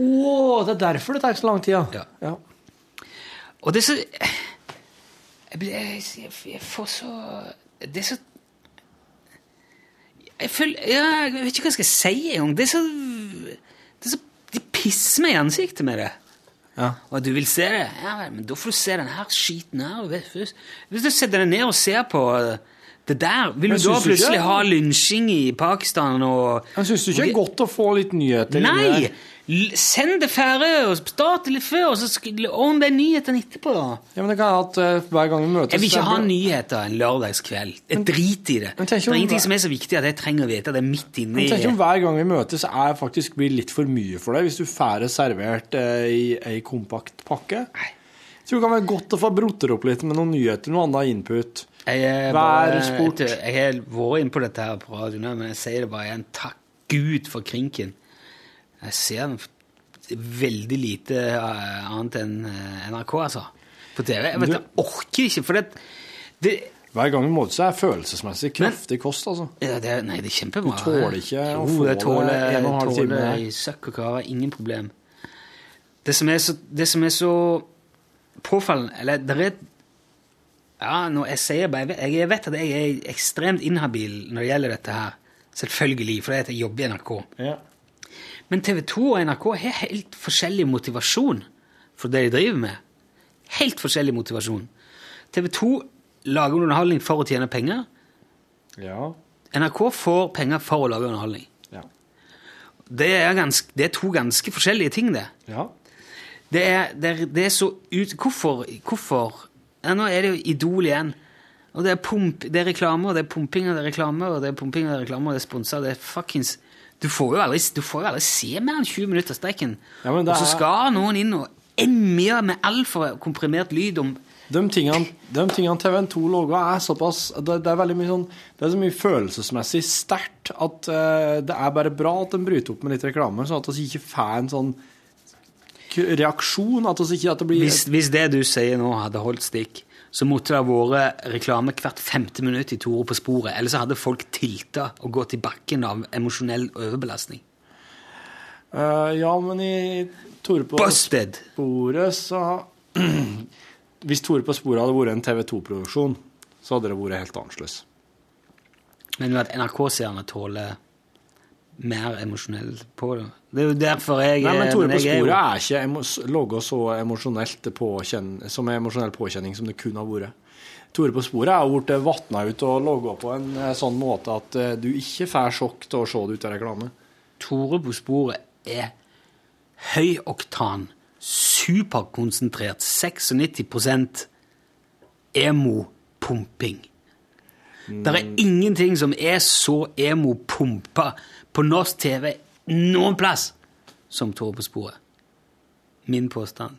E: Å, det er derfor det tar så lang tid, ja. ja.
B: Og det er så Jeg, blir, jeg, jeg får så Det er så Jeg føler ja, Jeg vet ikke hva jeg skal si engang. Det er så, det er så De pisser meg i ansiktet med det.
E: Ja.
B: Og du vil se det? Ja vel, men da får du se den her skiten her. vet du. Hvis du setter deg ned og ser på eh, det der, vil
E: Men
B: du da
E: syns du ikke-
B: plutselig ha lynsjing i Pakistan og
E: Jeg syns du ikke det er godt å få litt nyheter?
B: Nei! L- Send det ferdig, og start litt før, og så sk- ordn de nyhetene etterpå. da.
E: Ja, men det kan jeg ha at eh, hver gang vi møtes
B: Jeg vil ikke
E: så er
B: ha
E: det-
B: nyheter en lørdagskveld. Jeg
E: Men-
B: driter i det.
E: Men
B: Det
E: tenk om
B: er ingenting
E: hver-
B: som er så viktig at jeg trenger å vite det midt inni
E: Men tenk om hver gang vi møtes er faktisk blir litt for mye for deg, hvis du får det servert eh, i ei kompakt pakke? Jeg tror det kan være godt å få broter opp litt med noen nyheter, noe annet input.
B: Jeg er
E: Vær
B: bare-
E: sport.
B: vet du, Jeg har vært inne på dette her på radioen, nå, men jeg sier det bare igjen. Takk Gud for krinken. Jeg ser den f- veldig lite eh, annet enn eh, NRK, altså. På TV. Jeg, vet,
E: Du-
B: jeg orker ikke, for det, det,
E: Hver gang vi møtes er følelsesmessig kraftig kost, altså.
B: ja, det Nei, det er kjempebra.
E: Du tåler ikke å
B: Jo,
E: få
B: det
E: det
B: tåler,
E: en og en halv time
B: tåler
E: her.
B: i søkk og kare. Ingen problem. Det som er så, det som er så påfallende Eller det er Ja, nå, jeg sier bare Jeg vet at jeg er ekstremt inhabil når det gjelder dette her. Selvfølgelig, fordi at jeg jobber i NRK. Men TV 2 og NRK har helt forskjellig motivasjon for det de driver med. Helt forskjellig motivasjon. TV 2 lager underholdning for å tjene penger.
E: Ja.
B: NRK får penger for å lage underholdning.
E: Ja.
B: Det, er ganske, det er to ganske forskjellige ting, det.
E: Ja.
B: Det er, det er, det er så ut... Hvorfor? hvorfor? Ja, nå er det jo Idol igjen. Og det er, pump, det er reklame, og det er pumping, og det er reklame, og det er pumping, og det er reklame, og det er sponsa, og det er fuckings Du får jo aldri, du får jo aldri se mer enn 20 minutter av strekken.
E: Ja, men
B: og
E: det
B: så
E: er-
B: skal noen inn og emje med altfor komprimert lyd om
E: De tingene, de tingene TV2 lager, er såpass det, det er veldig mye sånn Det er så mye følelsesmessig sterkt at eh, det er bare bra at de bryter opp med litt reklame, sånn at vi ikke får en sånn k- reaksjon. At vi ikke at det blir
B: hvis, hvis det du sier nå hadde holdt stikk, så måtte det ha vært reklame hvert femte minutt i Tore på sporet. Ellers så hadde folk tilta og gått i bakken av emosjonell overbelastning.
E: Eh, ja, men i Tore på
B: Busted!
E: sporet, så Hvis Tore på sporet hadde vært en TV2-produksjon, så hadde det vært helt annerledes.
B: Men at NRK-seerne tåler mer emosjonell på det. Det er jo derfor jeg
E: Nei, men Tore på
B: Eh, jeg er jo-
E: sporet er ikke emos logga så emosjonelt påkjenn- som en emosjonell påkjenning som det kunne ha vært. Tore på sporet er jo blitt vatna ut og logga på en eh, sånn måte at eh, du ikke får sjokk til å se det ut av reklame.
B: Tore på sporet er høyoktan, superkonsentrert, 96 emo-pumping. Det
E: Mm.
B: er ingenting som er så emo-pumpa på norsk TV noen plass som Tore på sporet. Min påstand.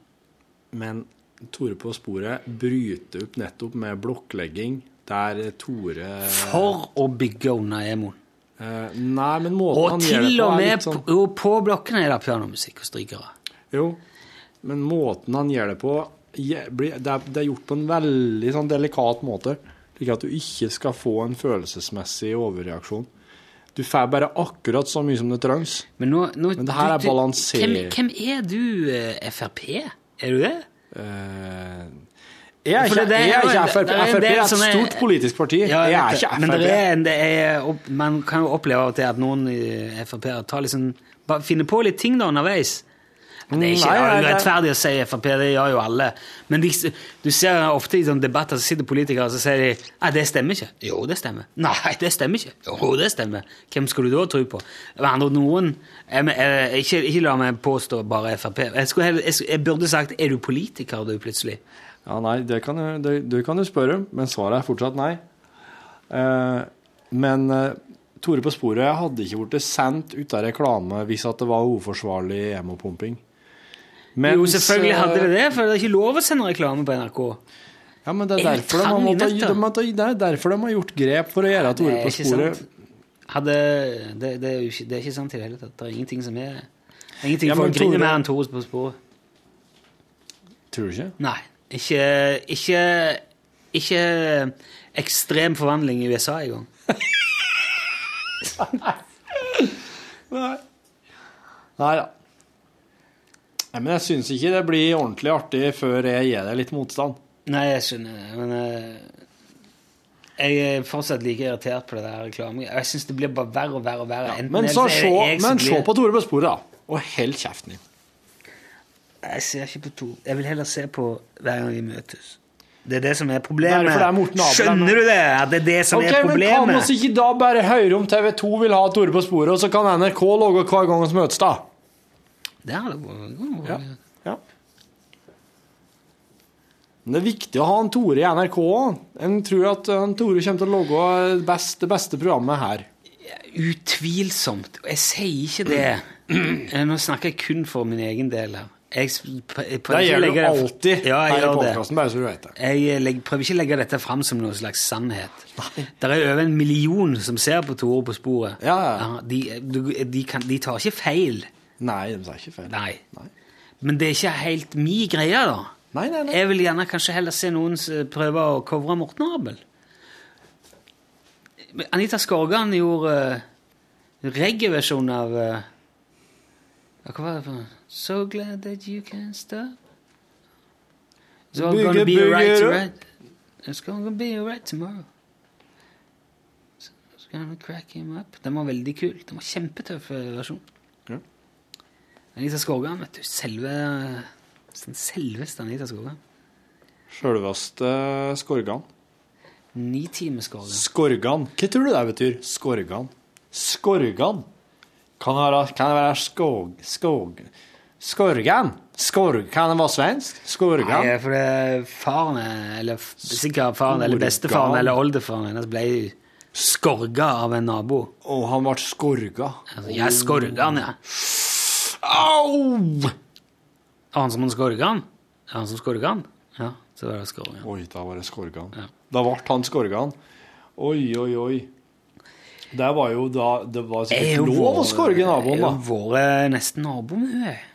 E: Men Tore på sporet bryter opp nettopp med blokklegging der Tore
B: For å bygge unna emoen.
E: Eh, nei, men måten
B: Og
E: han gjør det
B: til
E: på
B: og
E: er
B: med
E: litt sånn
B: på, og på blokkene er det pianomusikk og strykere.
E: Jo, men måten han gjør det på je- blir- det er, det er gjort på en veldig sånn delikat måte, slik at du ikke skal få en følelsesmessig overreaksjon. Du får bare akkurat så mye som det trengs.
B: Men,
E: det her
B: du-
E: er
B: du- Hvem,
E: balansering.
B: hvem er du, eh, Frp? Er du det?
E: Jeg er
B: For
E: Eh, ikke,
B: det- det er
E: jeg er
B: jo-
E: ikke Frp.
B: det er en
E: Frp
B: del
E: er et
B: som er-
E: stort politisk parti.
B: Ja,
E: jeg er
B: vet
E: ikke
B: det.
E: Frp.
B: Men det er, en- det er, opp- man kan jo oppleve av og til at noen eh, Frp-ere tar liksom, bare finner på litt ting da underveis. Det er ikke
E: Nei, nei, det-
B: urettferdig å si Frp, det gjør jo alle. Men de, du ser ofte i sånne debatter så sitter politikere og så sier de Nei, det stemmer ikke. Jo, det stemmer. Nei, det stemmer ikke. Jo, det stemmer. Hvem skulle du da tro på? Med andre ord, noen jeg, men, eh, ikke, ikke la meg påstå bare Frp. Jeg, skulle, heller- jeg, skulle- jeg burde sagt Er du politiker, du, plutselig?
E: Ja, nei, det kan, du- det, du kan du spørre, men svaret er fortsatt nei. Eh, men eh, Tore på sporet hadde ikke blitt sendt ut av reklame hvis at det var uforsvarlig emopumping.
B: jo, selvfølgelig hadde det det, for det er ikke lov å sende reklame på NRK.
E: eh, Ja, men det er
B: Jeg er
E: derfor de, har
B: fan i
E: måttet-
B: nøtter.
E: de, har- det er derfor de har gjort grep for å gjøre at Tore
B: Det er
E: på
B: ikke
E: sporet
B: sant. Hadde, det, det, er jo ikke, det er ikke sant i det hele tatt. Det er ingenting som er det er Ingenting
E: Ja,
B: folk
E: men
B: griner
E: Tore-
B: mer enn Tore på sporet.
E: Tror du ikke?
B: Nei. Ikke, ikke, ikke ekstrem forvandling i USA i gang.
E: Nei. Nei da. Nei, men jeg syns ikke det blir ordentlig artig før jeg gir deg litt motstand.
B: Nei, jeg skjønner det, men eh, jeg er fortsatt like irritert på det der reklamen. Jeg syns det blir bare verre og verre og verre. Enten
E: Men,
B: eller
E: så,
B: er det
E: se,
B: jeg som
E: men se
B: blir-
E: på Tore på sporet, da. Og hold kjeften din.
B: Jeg ser ikke på to. Jeg vil heller se på hver gang vi møtes. Det er det som er
E: Det
B: problemet.
E: er derfor det er Morten Abel her nå.
B: Skjønner du det? At det er det som
E: Ok,
B: er
E: men Kan
B: problemet.
E: vi ikke da bare høre om TV 2 vil ha Tore på sporet, og så kan NRK logge hver gang vi møtes, da?
B: Det er det bare-
E: Ja. ja. Men det er viktig å ha en Tore i NRK òg. En tror at eh, en Tore kommer til å logge eh, best, det beste programmet her.
B: Utvilsomt. Og jeg sier ikke det. Eh, Nå snakker jeg kun for min egen del her. Jeg s- pr- jeg prøver ikke
E: Det
B: å
E: gjør du
B: legge
E: alltid
B: ja, jeg
E: her i
B: gjør det.
E: podcasten, bare så du vet det.
B: Jeg eh, legg- prøver ikke å legge dette fram som noen slags sannhet. Det er over en million som ser på Tore på sporet. Ja, de, eh, du- de, kan, de tar ikke feil.
E: Nei, de tar ikke feil.
B: Nei. Men det er ikke helt mi greie, da. Jeg vil gjerne kanskje heller se noen som prøver å covre Morten Abel. Men Anita Skorgan gjorde uh, reggae-versjon av eh, ja, Hva var det for noe? So glad that you can stop. It's all gonna be alright tonight. It's gonna be alright tomorrow. It's gonna crack him up. Den var veldig kul. Den var kjempetøff eh, versjon.
E: Ja.
B: Anita Skorgan, vet du. Selve eh, den selveste Anita Skorgan.
E: Sjølveste Skorgan.
B: Ni timer Skorgan.
E: Skorgan. Hva tror du det betyr? Skorgan. Skorgan? Kan det være, kan det være skog... skog... Skorgan? Skorg... Kan det være svensk? Skorgan?
B: Nei, for det er faren Eller f- sikkert faren eller
E: Skorgan.
B: bestefaren eller oldefaren hennes ble skorga av en nabo.
E: Og han ble skorga?
B: Altså, jeg skorga han, jeg.
E: Au!
B: Er Han som han skorga han? Er Han som skorga han? Ja, så var det skorga.
E: Oi, da var det Skorgan. Da ble han Skorgan. Oi, oi, oi. Det var jo da Det var
B: Jeg er
E: sikkert
B: jo
E: lov å
B: vår-
E: skorge naboen, da.
B: Jeg har vært nesten nabo med henne, jeg.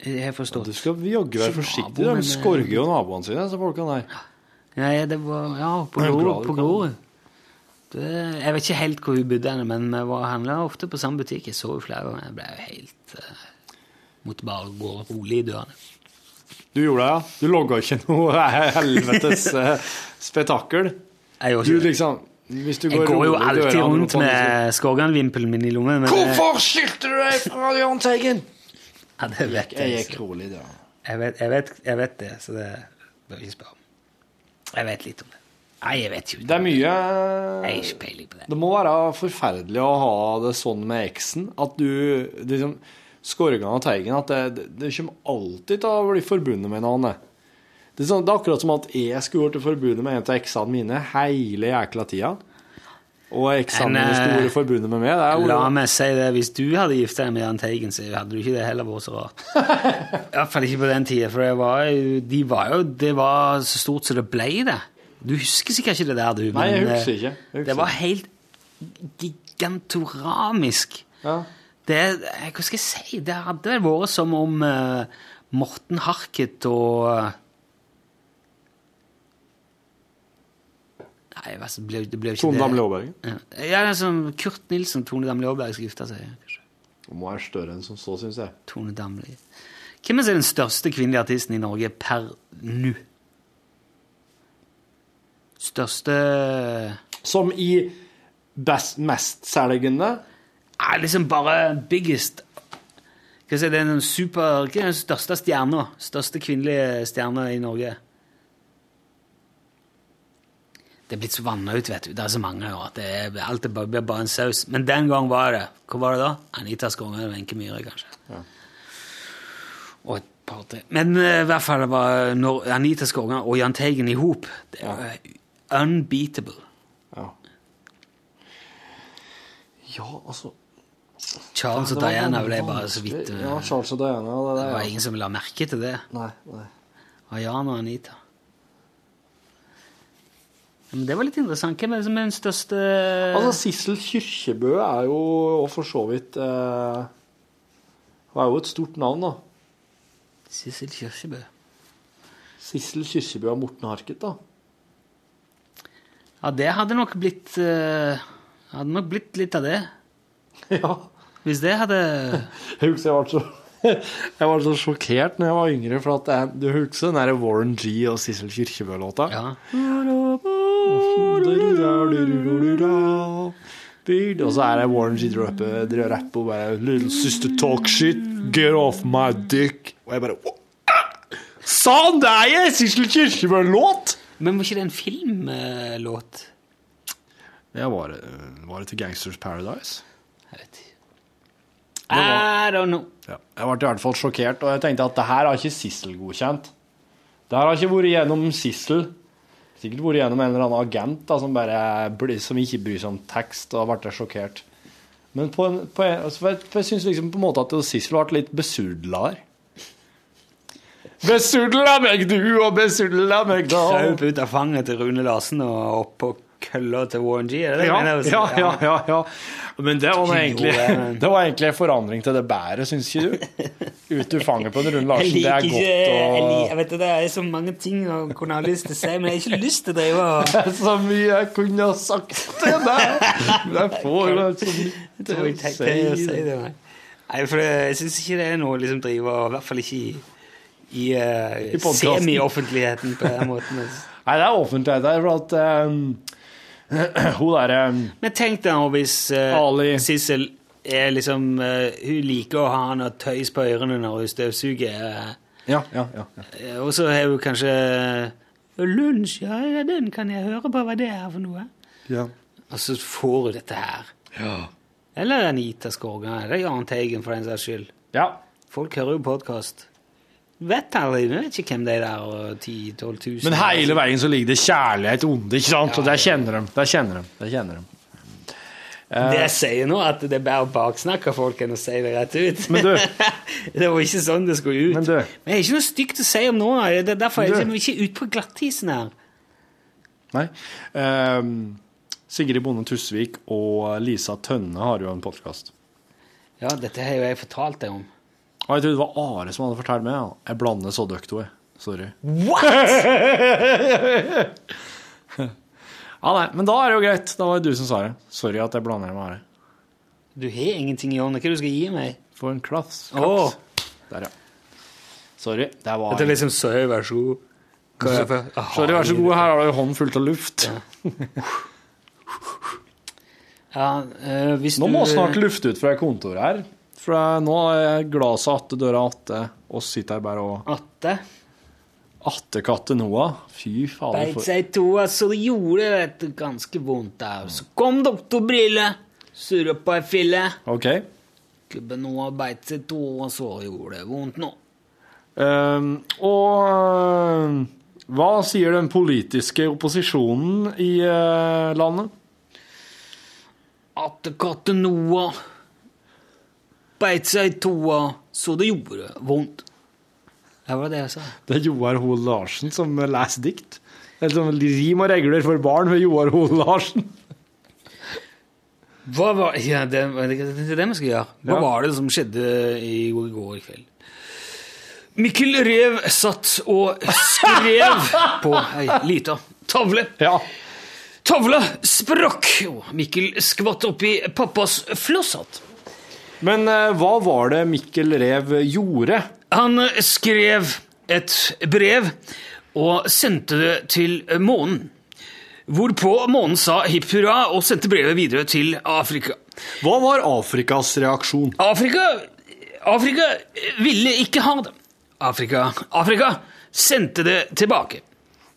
B: Jeg har forstått.
E: Du skal jaggu være forsiktig.
B: nabo, men,
E: De
B: eh,
E: skorger jo naboene sine, disse folkene her.
B: Nei, det var Ja, på
E: Jeg er
B: Grorud. På
E: glad du kom.
B: Grorud. Det- Jeg vet ikke helt hvor hun bodde, henne, men vi var handla ofte på samme butikk. Jeg så henne flere ganger. Jeg ble jo helt eh, Måtte bare gå rolig i dørene.
E: Du gjorde det, ja? Du logga ikke noe helvetes eh, spetakkel?
B: gjorde
E: Du
B: ikke det.
E: liksom Hvis du
B: Jeg
E: går
B: går jo
E: rolig i dørene,
B: alltid
E: roper
B: rundt
E: han liksom,
B: med Skorgan-vimpelen min i lommen. men det-
E: Hvorfor skilte du deg fra Jahn Teigen?
B: Ja, det vet jeg.
E: Jeg gikk
B: ikke.
E: rolig i dørene.
B: Jeg vet, jeg vet, jeg vet det, så det bør ikke spørre om. Jeg vet litt om det. Nei, jeg vet jo
E: Det er mye
B: Jeg har ikke peiling på det.
E: Det må være forferdelig å ha det sånn med eksen. At du det er liksom Skorgan og Teigen At det, det, det kommer alltid til å bli forbundet med hverandre. Det er, sånn, det er akkurat som at jeg skulle vært forbundet med en av eksene mine hele jækla tida. Og eksamener
B: Men, eh,
E: store forbundet med meg. Det er jo
B: La meg si det, hvis du hadde gifta deg med Jahn Teigen, så hadde du ikke det heller vært så rart. I hvert fall ikke på den tida, for det var, jo- de var jo, det var så stort som det ble det. Du husker sikkert ikke det der, du.
E: Nei, jeg
B: men, eh,
E: husker ikke. Jeg husker
B: Det var
E: ikke.
B: helt gigantoramisk. Det, eh, hva skal jeg si? Det hadde vel vært som om eh, Morten Harket og eh, Nei, hva- det ble, det ble jo ikke
E: Tone
B: det.
E: Damli Aaberge.
B: Ja. Ja, det er som Kurt Nilsen Tone Damli Aaberg skal gifte seg. kanskje.
E: Hun må være større enn som så, syns jeg.
B: Tone Damli. Hvem er den største kvinnelige artisten i Norge per nå? Største
E: Som i best, mestselgende?
B: Nei, liksom bare biggest. Skal jeg si, det er den super... Hva er den største stjerna? Største kvinnelige stjerna i Norge? Det er blitt så vanna ut, vet du. Det er så mange år at det er, alt er bare, blir bare en saus. Men den gang var det Hva var det da? Anita Skonge og Wenche Myhre, kanskje. Og et par til. Men eh, i hvert fall det var når Anita Skonge og Jahn Teigen i hop. Det er jo unbeatable.
E: Ja, altså
B: Charles og
E: Ja, det var
B: Diana
E: veldig
B: ble bare så vidt eh,
E: vanskelig. Ja, Charles og Diana. Det,
B: Det
E: der,
B: var
E: ja.
B: ingen som la merke til det.
E: Nei, nei.
B: Av Jan og Anita. Ja, Men det var litt interessant. Hvem er det som er den største
E: Altså, Sissel Kyrkjebø er jo og for så vidt eh, Hun er jo et stort navn, da.
B: Sissel Kyrkjebø.
E: Sissel Kyrkjebø og Morten Harket, da.
B: Ja, det hadde nok blitt eh, Hadde nok blitt litt av det.
E: Ja.
B: Hvis det hadde
E: Jeg husker jeg var så jeg var så sjokkert når jeg var yngre, for at jeg, du husker den der Warren G og Sissel Kyrkjebø-låta? Byd, Og så er det Warren G rapper dra- rapper og bare Little sister talk shit, get off my dick. Og jeg bare «Å, æ! Sann, det er jeg! Sissel Kyrkjebø-låt!
B: Men var ikke det en filmlåt?
E: Det var, eh, var det til Gangsters Paradise?
B: I don't know.
E: Ja. Jeg ble i hvert fall sjokkert, og jeg tenkte at det her har ikke Sissel godkjent. Det her har ikke vært gjennom Sissel. Sikkert vært gjennom en eller annen agent da, som, bare, blir- som ikke bryr seg om tekst, og ble sjokkert. Men på en, på en, altså, for jeg, for jeg synes liksom på en måte at Sissel ble litt besudla her. Besudla meg du, og besudla meg da.
B: Kraup ut av fanget til Rune Larsen og opp på kølla til Warren G? er det det du
E: Ja,
B: mener?
E: ja, ja, ja, ja. Men det var, nå egentlig,
B: Jo, men-
E: det var egentlig en forandring til det bæret, syns ikke du? Ut du fanger på en Rune
B: Jeg
E: Larsen, det
B: liker
E: er
B: ikke
E: godt
B: jeg,
E: å
B: liker- jeg vet, Det det er så mange ting jeg kunne ha lyst til å si, men jeg har ikke lyst til å drive og
E: er så mye jeg kunne ha sagt til deg. Men jeg får jo så
B: Jeg tror jeg
E: mye
B: tenkte å si det, nei. Nei, for det- jeg syns ikke det er noe å liksom drive og I hvert fall ikke i, i, eh,
E: I podcasten.
B: semi-offentligheten på den måten.
E: Nei, det er offentlighet her, for at eh, hun derre
B: Men tenk deg nå hvis eh, Sissel er liksom eh, Hun liker å ha noe tøys på ørene når hun støvsuger. eh,
E: Ja, ja, ja.
B: Eh, Og så har hun kanskje eh, Lunsj, ja, ja, den kan jeg høre på hva det er for noe.
E: ja.
B: Og så får hun dette her.
E: Ja.
B: Eller Anita Skorgan, eller Jahn Teigen for den saks skyld. Folk hører jo podkast. Vet aldri, vi vet ikke hvem de der og 10 000-12 000
E: Men hele veien så ligger det kjærlighet onde, ikke sant? Og der kjenner de. Der kjenner de. Der kjenner de. Eh,
B: Det jeg sier nå, at det er bare å baksnakke folk enn å si det rett ut.
E: Men du-
B: det var ikke sånn det skulle ut. Men, jeg har ikke noe stygt å si om noen. av det. Det er derfor er jeg
E: Men
B: liksom ikke ute på glattisen her.
E: Nei. Ehm, Sigrid Bonde Tusvik og Lisa Tønne har jo en podkast.
B: Ja, dette har jo jeg fortalt deg om.
E: Og jeg trodde det var Are som hadde fortalt meg. Ja. Jeg blander så dere to, jeg. Sorry.
B: What?!
E: Ja, nei, men da er det jo greit. Da var det du som sa det. Sorry at jeg blander med Are.
B: Du har ingenting i hånda. Hva er det du skal gi meg?
E: For en klaps.
B: Åh.
E: Der, ja. Sorry. Det var
B: Dette er liksom så høy, vær så god. Hva er det for- Ah,
E: Sorry, vær så god. Her har du hånden fullt av luft.
B: Ja, eh, hvis
E: Nå
B: du
E: må snart luft ut fra kontoret her. For nå er glaset atte døra atte, og så sitter jeg bare og
B: Atte?
E: Atte katte Noah. Fy fader.
B: Beit
E: for-
B: seg i to, altså. Det gjorde dette ganske vondt der. Så kom doktorbrille, surra på ei fille.
E: OK.
B: Klubben nå har beit seg i to, og så gjorde det vondt nå.
E: Ehm, og ehm, eh, hva sier den politiske opposisjonen i eh, landet?
B: Attekatten Noah beit seg i toa, så det gjorde vondt. Det var det jeg sa.
E: Det er Joar Hoel Larsen som leser dikt. Det er sånn rim og regler for barn ved Joar Hoel Larsen.
B: Hva var ja, det, det, det er det vi skal gjøre. Hva
E: Ja.
B: var det som skjedde i går kveld? Mikkel Rev satt og skrev på ei lita tavle. Tavla sprakk, og Mikkel skvatt oppi pappas flosshatt.
E: Men eh, hva var det Mikkel Rev gjorde?
B: Han skrev et brev og sendte det til månen. Hvorpå månen sa hipp hurra og sendte brevet videre til Afrika.
E: Hva var Afrikas reaksjon?
B: Afrika, Afrika ville ikke ha det. Afrika, Afrika sendte det tilbake.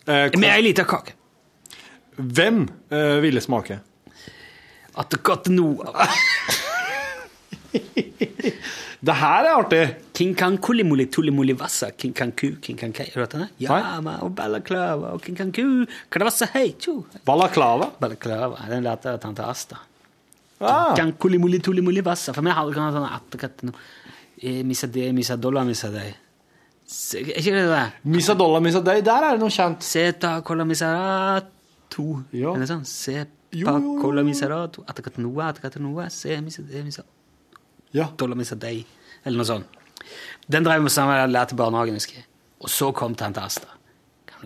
B: Med ei lita kake.
E: Eh, Hvem eh, ville smake?
B: Attekatt Noah.
E: Det her er artig.
B: King kan kulimuli tulimuli vassa, king kan ku, king kan kei. Hørte du den? Jama og balaklava og king kan ku, kravassa hei, tjo.
E: Balaklava?
B: Balaklava, den lærte jeg av tante Asta.
E: Ah.
B: King kulimuli tulimuli vassa, for meg hadde ikke sånn attekatt no. Eh, Missa de, missa dollar, missa dei. Se- Er ikke det det der?
E: Missa dollar, missa dei, der er det noe kjent.
B: Seta cola miserato. Eller sånn. Sepa cola miserato. Attekatt noa, attekatt noa, se missa de, missa
E: ja.
B: dollar, missa dei. Eller noe sånt. Den drev vi sammen med og lærte i barnehagen, husker jeg. Og så kom tante Asta.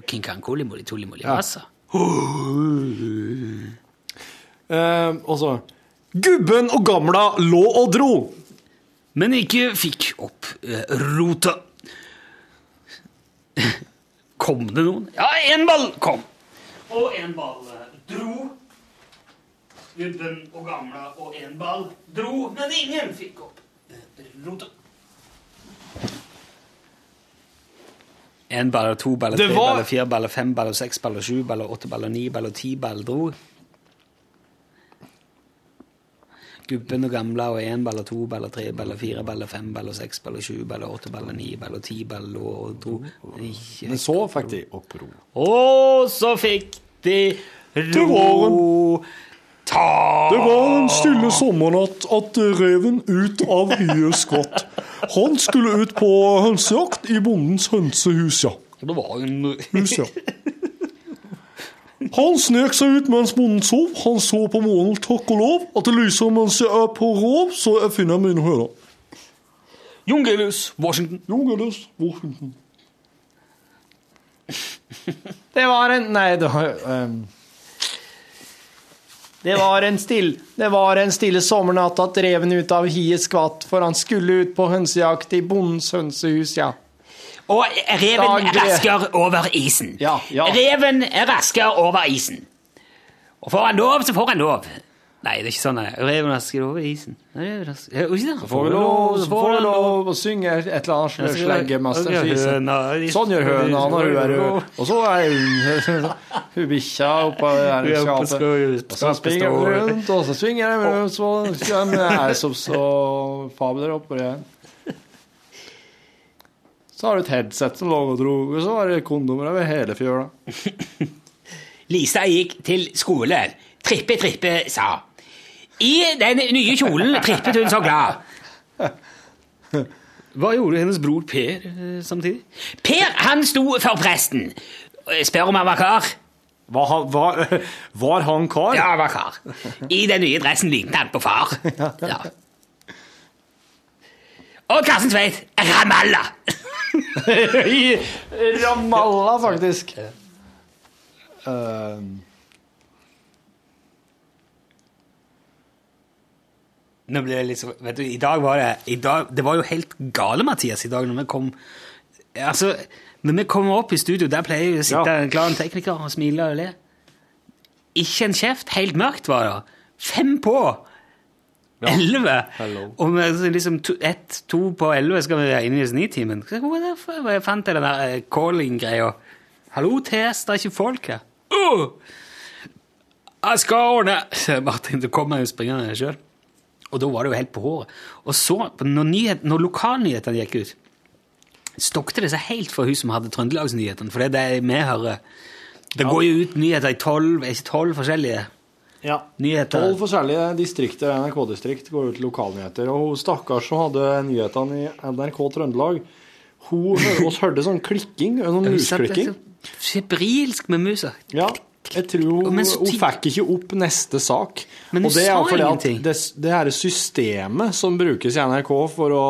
B: King kan kolimoli, tolimoli,
E: Ja.
B: vassa.
E: Eh, og så Gubben og gamla lå og dro.
B: Men ikke fikk opp eh, rota. Kom det noen? Ja, én ball kom. Og en ball eh, dro. Gubben og gamla og en ball dro, men ingen fikk opp eh, rota. En ball, to baller,
E: Det
B: tre
E: var-
B: baller, fire baller, fem baller, seks baller, sju baller, åtte baller, ni baller, ti baller dro. Gubben og gamla og én baller, to baller, tre baller, fire baller, fem baller, seks baller, sju baller, åtte baller, ni baller, ti baller lå og dro. Ikke-
E: Men så fikk de opp ro.
B: og så fikk de
E: Det var en-
B: ro ta
E: Det var en stille sommernatt at reven ut av hyet skvatt. Han skulle ut på hønsejakt i bondens hønsehus, ja.
B: Det var en
E: Hus, ja. Han snek seg ut mens bonden sov. Han så på månen, takk og lov, at det lyser mens jeg er på rov, så jeg finner mine høner.
B: Jungelius, Washington.
E: Jungelius, Washington.
O: Det var en Nei, det var ehm, Det var en still Det var en stille sommernatt at reven ut av hiet skvatt, for han skulle ut på hønsejakt i bondens hønsehus, ja.
B: Og reven
O: Dag- eh.
B: rasker over isen. Reven rasker over isen. Og får han lov, så får han lov. Nei, det er ikke sånn. nei. Reven rasker over isen. Reven rasker- Ja, ikke sant?
O: Så får vi lov, så får vi lov å synge et eller annet
B: Ja, så
O: sl-
B: gjør-
O: sleggemasters
B: så gjør
O: vise.
B: høna- de-
O: Sånn gjør høna når hun er rød. Og så er hun Hun bikkja oppå
B: Hun er oppe på
O: skapet.
B: skapet,
O: Og så springer hun
B: står-
O: rundt, og så svinger hun rundt, så kommer jeg som så fabler oppå det. Så har du et headset som lå og dro, og så var det kondomer over hele fjøla.
B: Lisa gikk til skole. Trippe, trippe, sa. I den nye kjolen trippet hun så glad. Hva gjorde hennes bror Per eh, samtidig? Per, han sto for presten. Eh, Spør om han var kar.
E: Var han, var, var han kar?
B: Ja, han var kar. I den nye dressen lignet han på far. Ja. Og Karsten Tveit, Ramallah.
O: I eh, Ramallah, faktisk.
E: Ehm,
B: Nå ble jeg litt så, vet du, I dag var det i dag, Det var jo helt gale, Mathias, i dag når vi kom Altså, når vi kommer opp i studio, der pleier jo å sitte en klar tekniker og smile og le. Ikke en kjeft. Helt mørkt var det. Fem på! Elleve! Og vi er liksom to, ett, to på elleve skal vi være inne i Snitimen. Så Hvor er det fra? Jeg fant den der eh, calling-greia. Hallo, TS, det er ikke folk her. «Åh! jeg skal ordne Så Martin, du kommer jo springende sjøl. Og da var det jo helt på håret. Og så, når, nyhet, når lokalnyhetene gikk ut, stokte det seg helt for hun som hadde Trøndelagsnyhetene, for det er det vi hører. Det går jo ut nyheter i tolv, er ikke tolv forskjellige.
E: Ja.
B: Nyheter.
E: Tolv forskjellige distrikter, NRK-distrikt, går ut lokalnyheter. Og hun stakkars som hadde nyhetene i NRK Trøndelag, hun hø- oss hørte sånn klikking,
B: Ja,
E: noen
B: sant,
E: musklikking.
B: det er så Febrilsk med musa.
E: Ja, jeg tror hun,
B: Men så
E: hun
B: tydelig-
E: fikk ikke opp neste sak.
B: Men hun
E: og det er
B: sa
E: jo fordi at
B: ingenting.
E: Det, det her systemet som brukes i NRK for å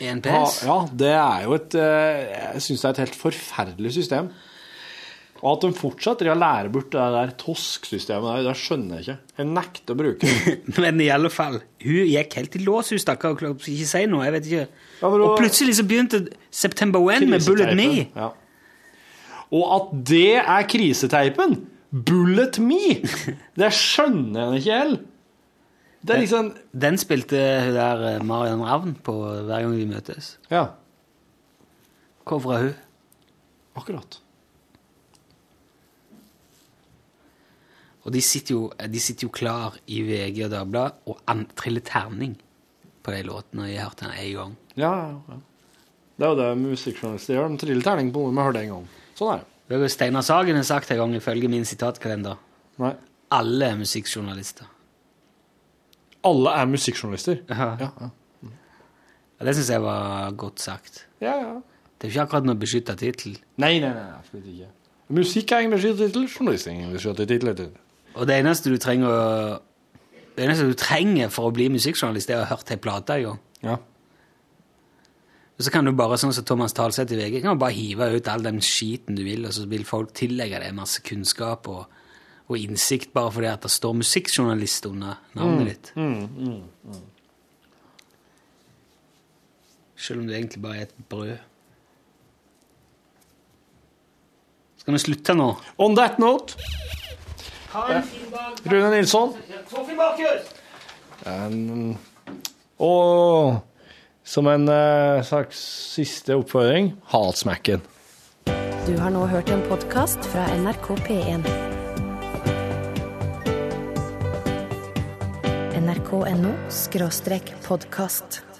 B: E NPS?
E: Ja, det er jo et eh, Jeg syns det er et helt forferdelig system. Og at de fortsetter å lære bort det der tosk-systemet der, det skjønner jeg ikke. Jeg nekter å bruke det.
B: Men i alle fall, hun gikk helt i lås, hun stakkar, og klarte ikke å si noe. jeg vet ikke.
E: men
B: og
E: da-
B: plutselig så begynte September When med Bullet Me.
E: Ja. Og at det er kriseteipen! Bullet me! Det skjønner jeg ikke helt. Det er liksom
B: Den spilte hun der eh, Marion Ravn på hver gang vi møtes.
E: Ja.
B: Covra hun.
E: Akkurat.
B: Og de sitter jo, de sitter jo klar i VG og Dagbladet og an, triller terning på de låtene. Jeg har hørt den én gang.
E: Ja, ja, ja. Det er jo det musikkjournalister gjør. De triller terning på noe vi hørte en gang. Sånn er det.
B: Det har Steinar Sagen har sagt en gang ifølge min sitatkalender.
E: Nei.
B: Alle er musikkjournalister.
E: Alle er musikkjournalister.
B: Ja. Og det syns jeg var godt sagt.
E: Ja, ja.
B: Det er jo ikke akkurat noe beskytta tittel.
E: Nei, nei, nei, absolutt ikke. Musikk er ingen beskjed til tittel, journalist er ingen beskjed til tittel.
B: Og det eneste du trenger å- Det eneste du trenger for å bli musikkjournalist, er å ha hørt ei plate en gang.
E: Ja.
B: Og så kan du bare, sånn som Thomas Talseth i VG, kan du bare hive ut all den skiten du vil, og så vil folk tillegge deg masse kunnskap og, og innsikt bare fordi at det står musikkjournalist under navnet ditt.
E: Mm, mm, mm.
B: Selv om du egentlig bare er et brød. Skal vi slutte nå?
E: On that note Rune Nilsson. Um, og som en eh, slags siste oppfordring Hatsmacken.
A: Du har nå hørt en podkast fra NRK P1. NRK.no skråstrek podkast.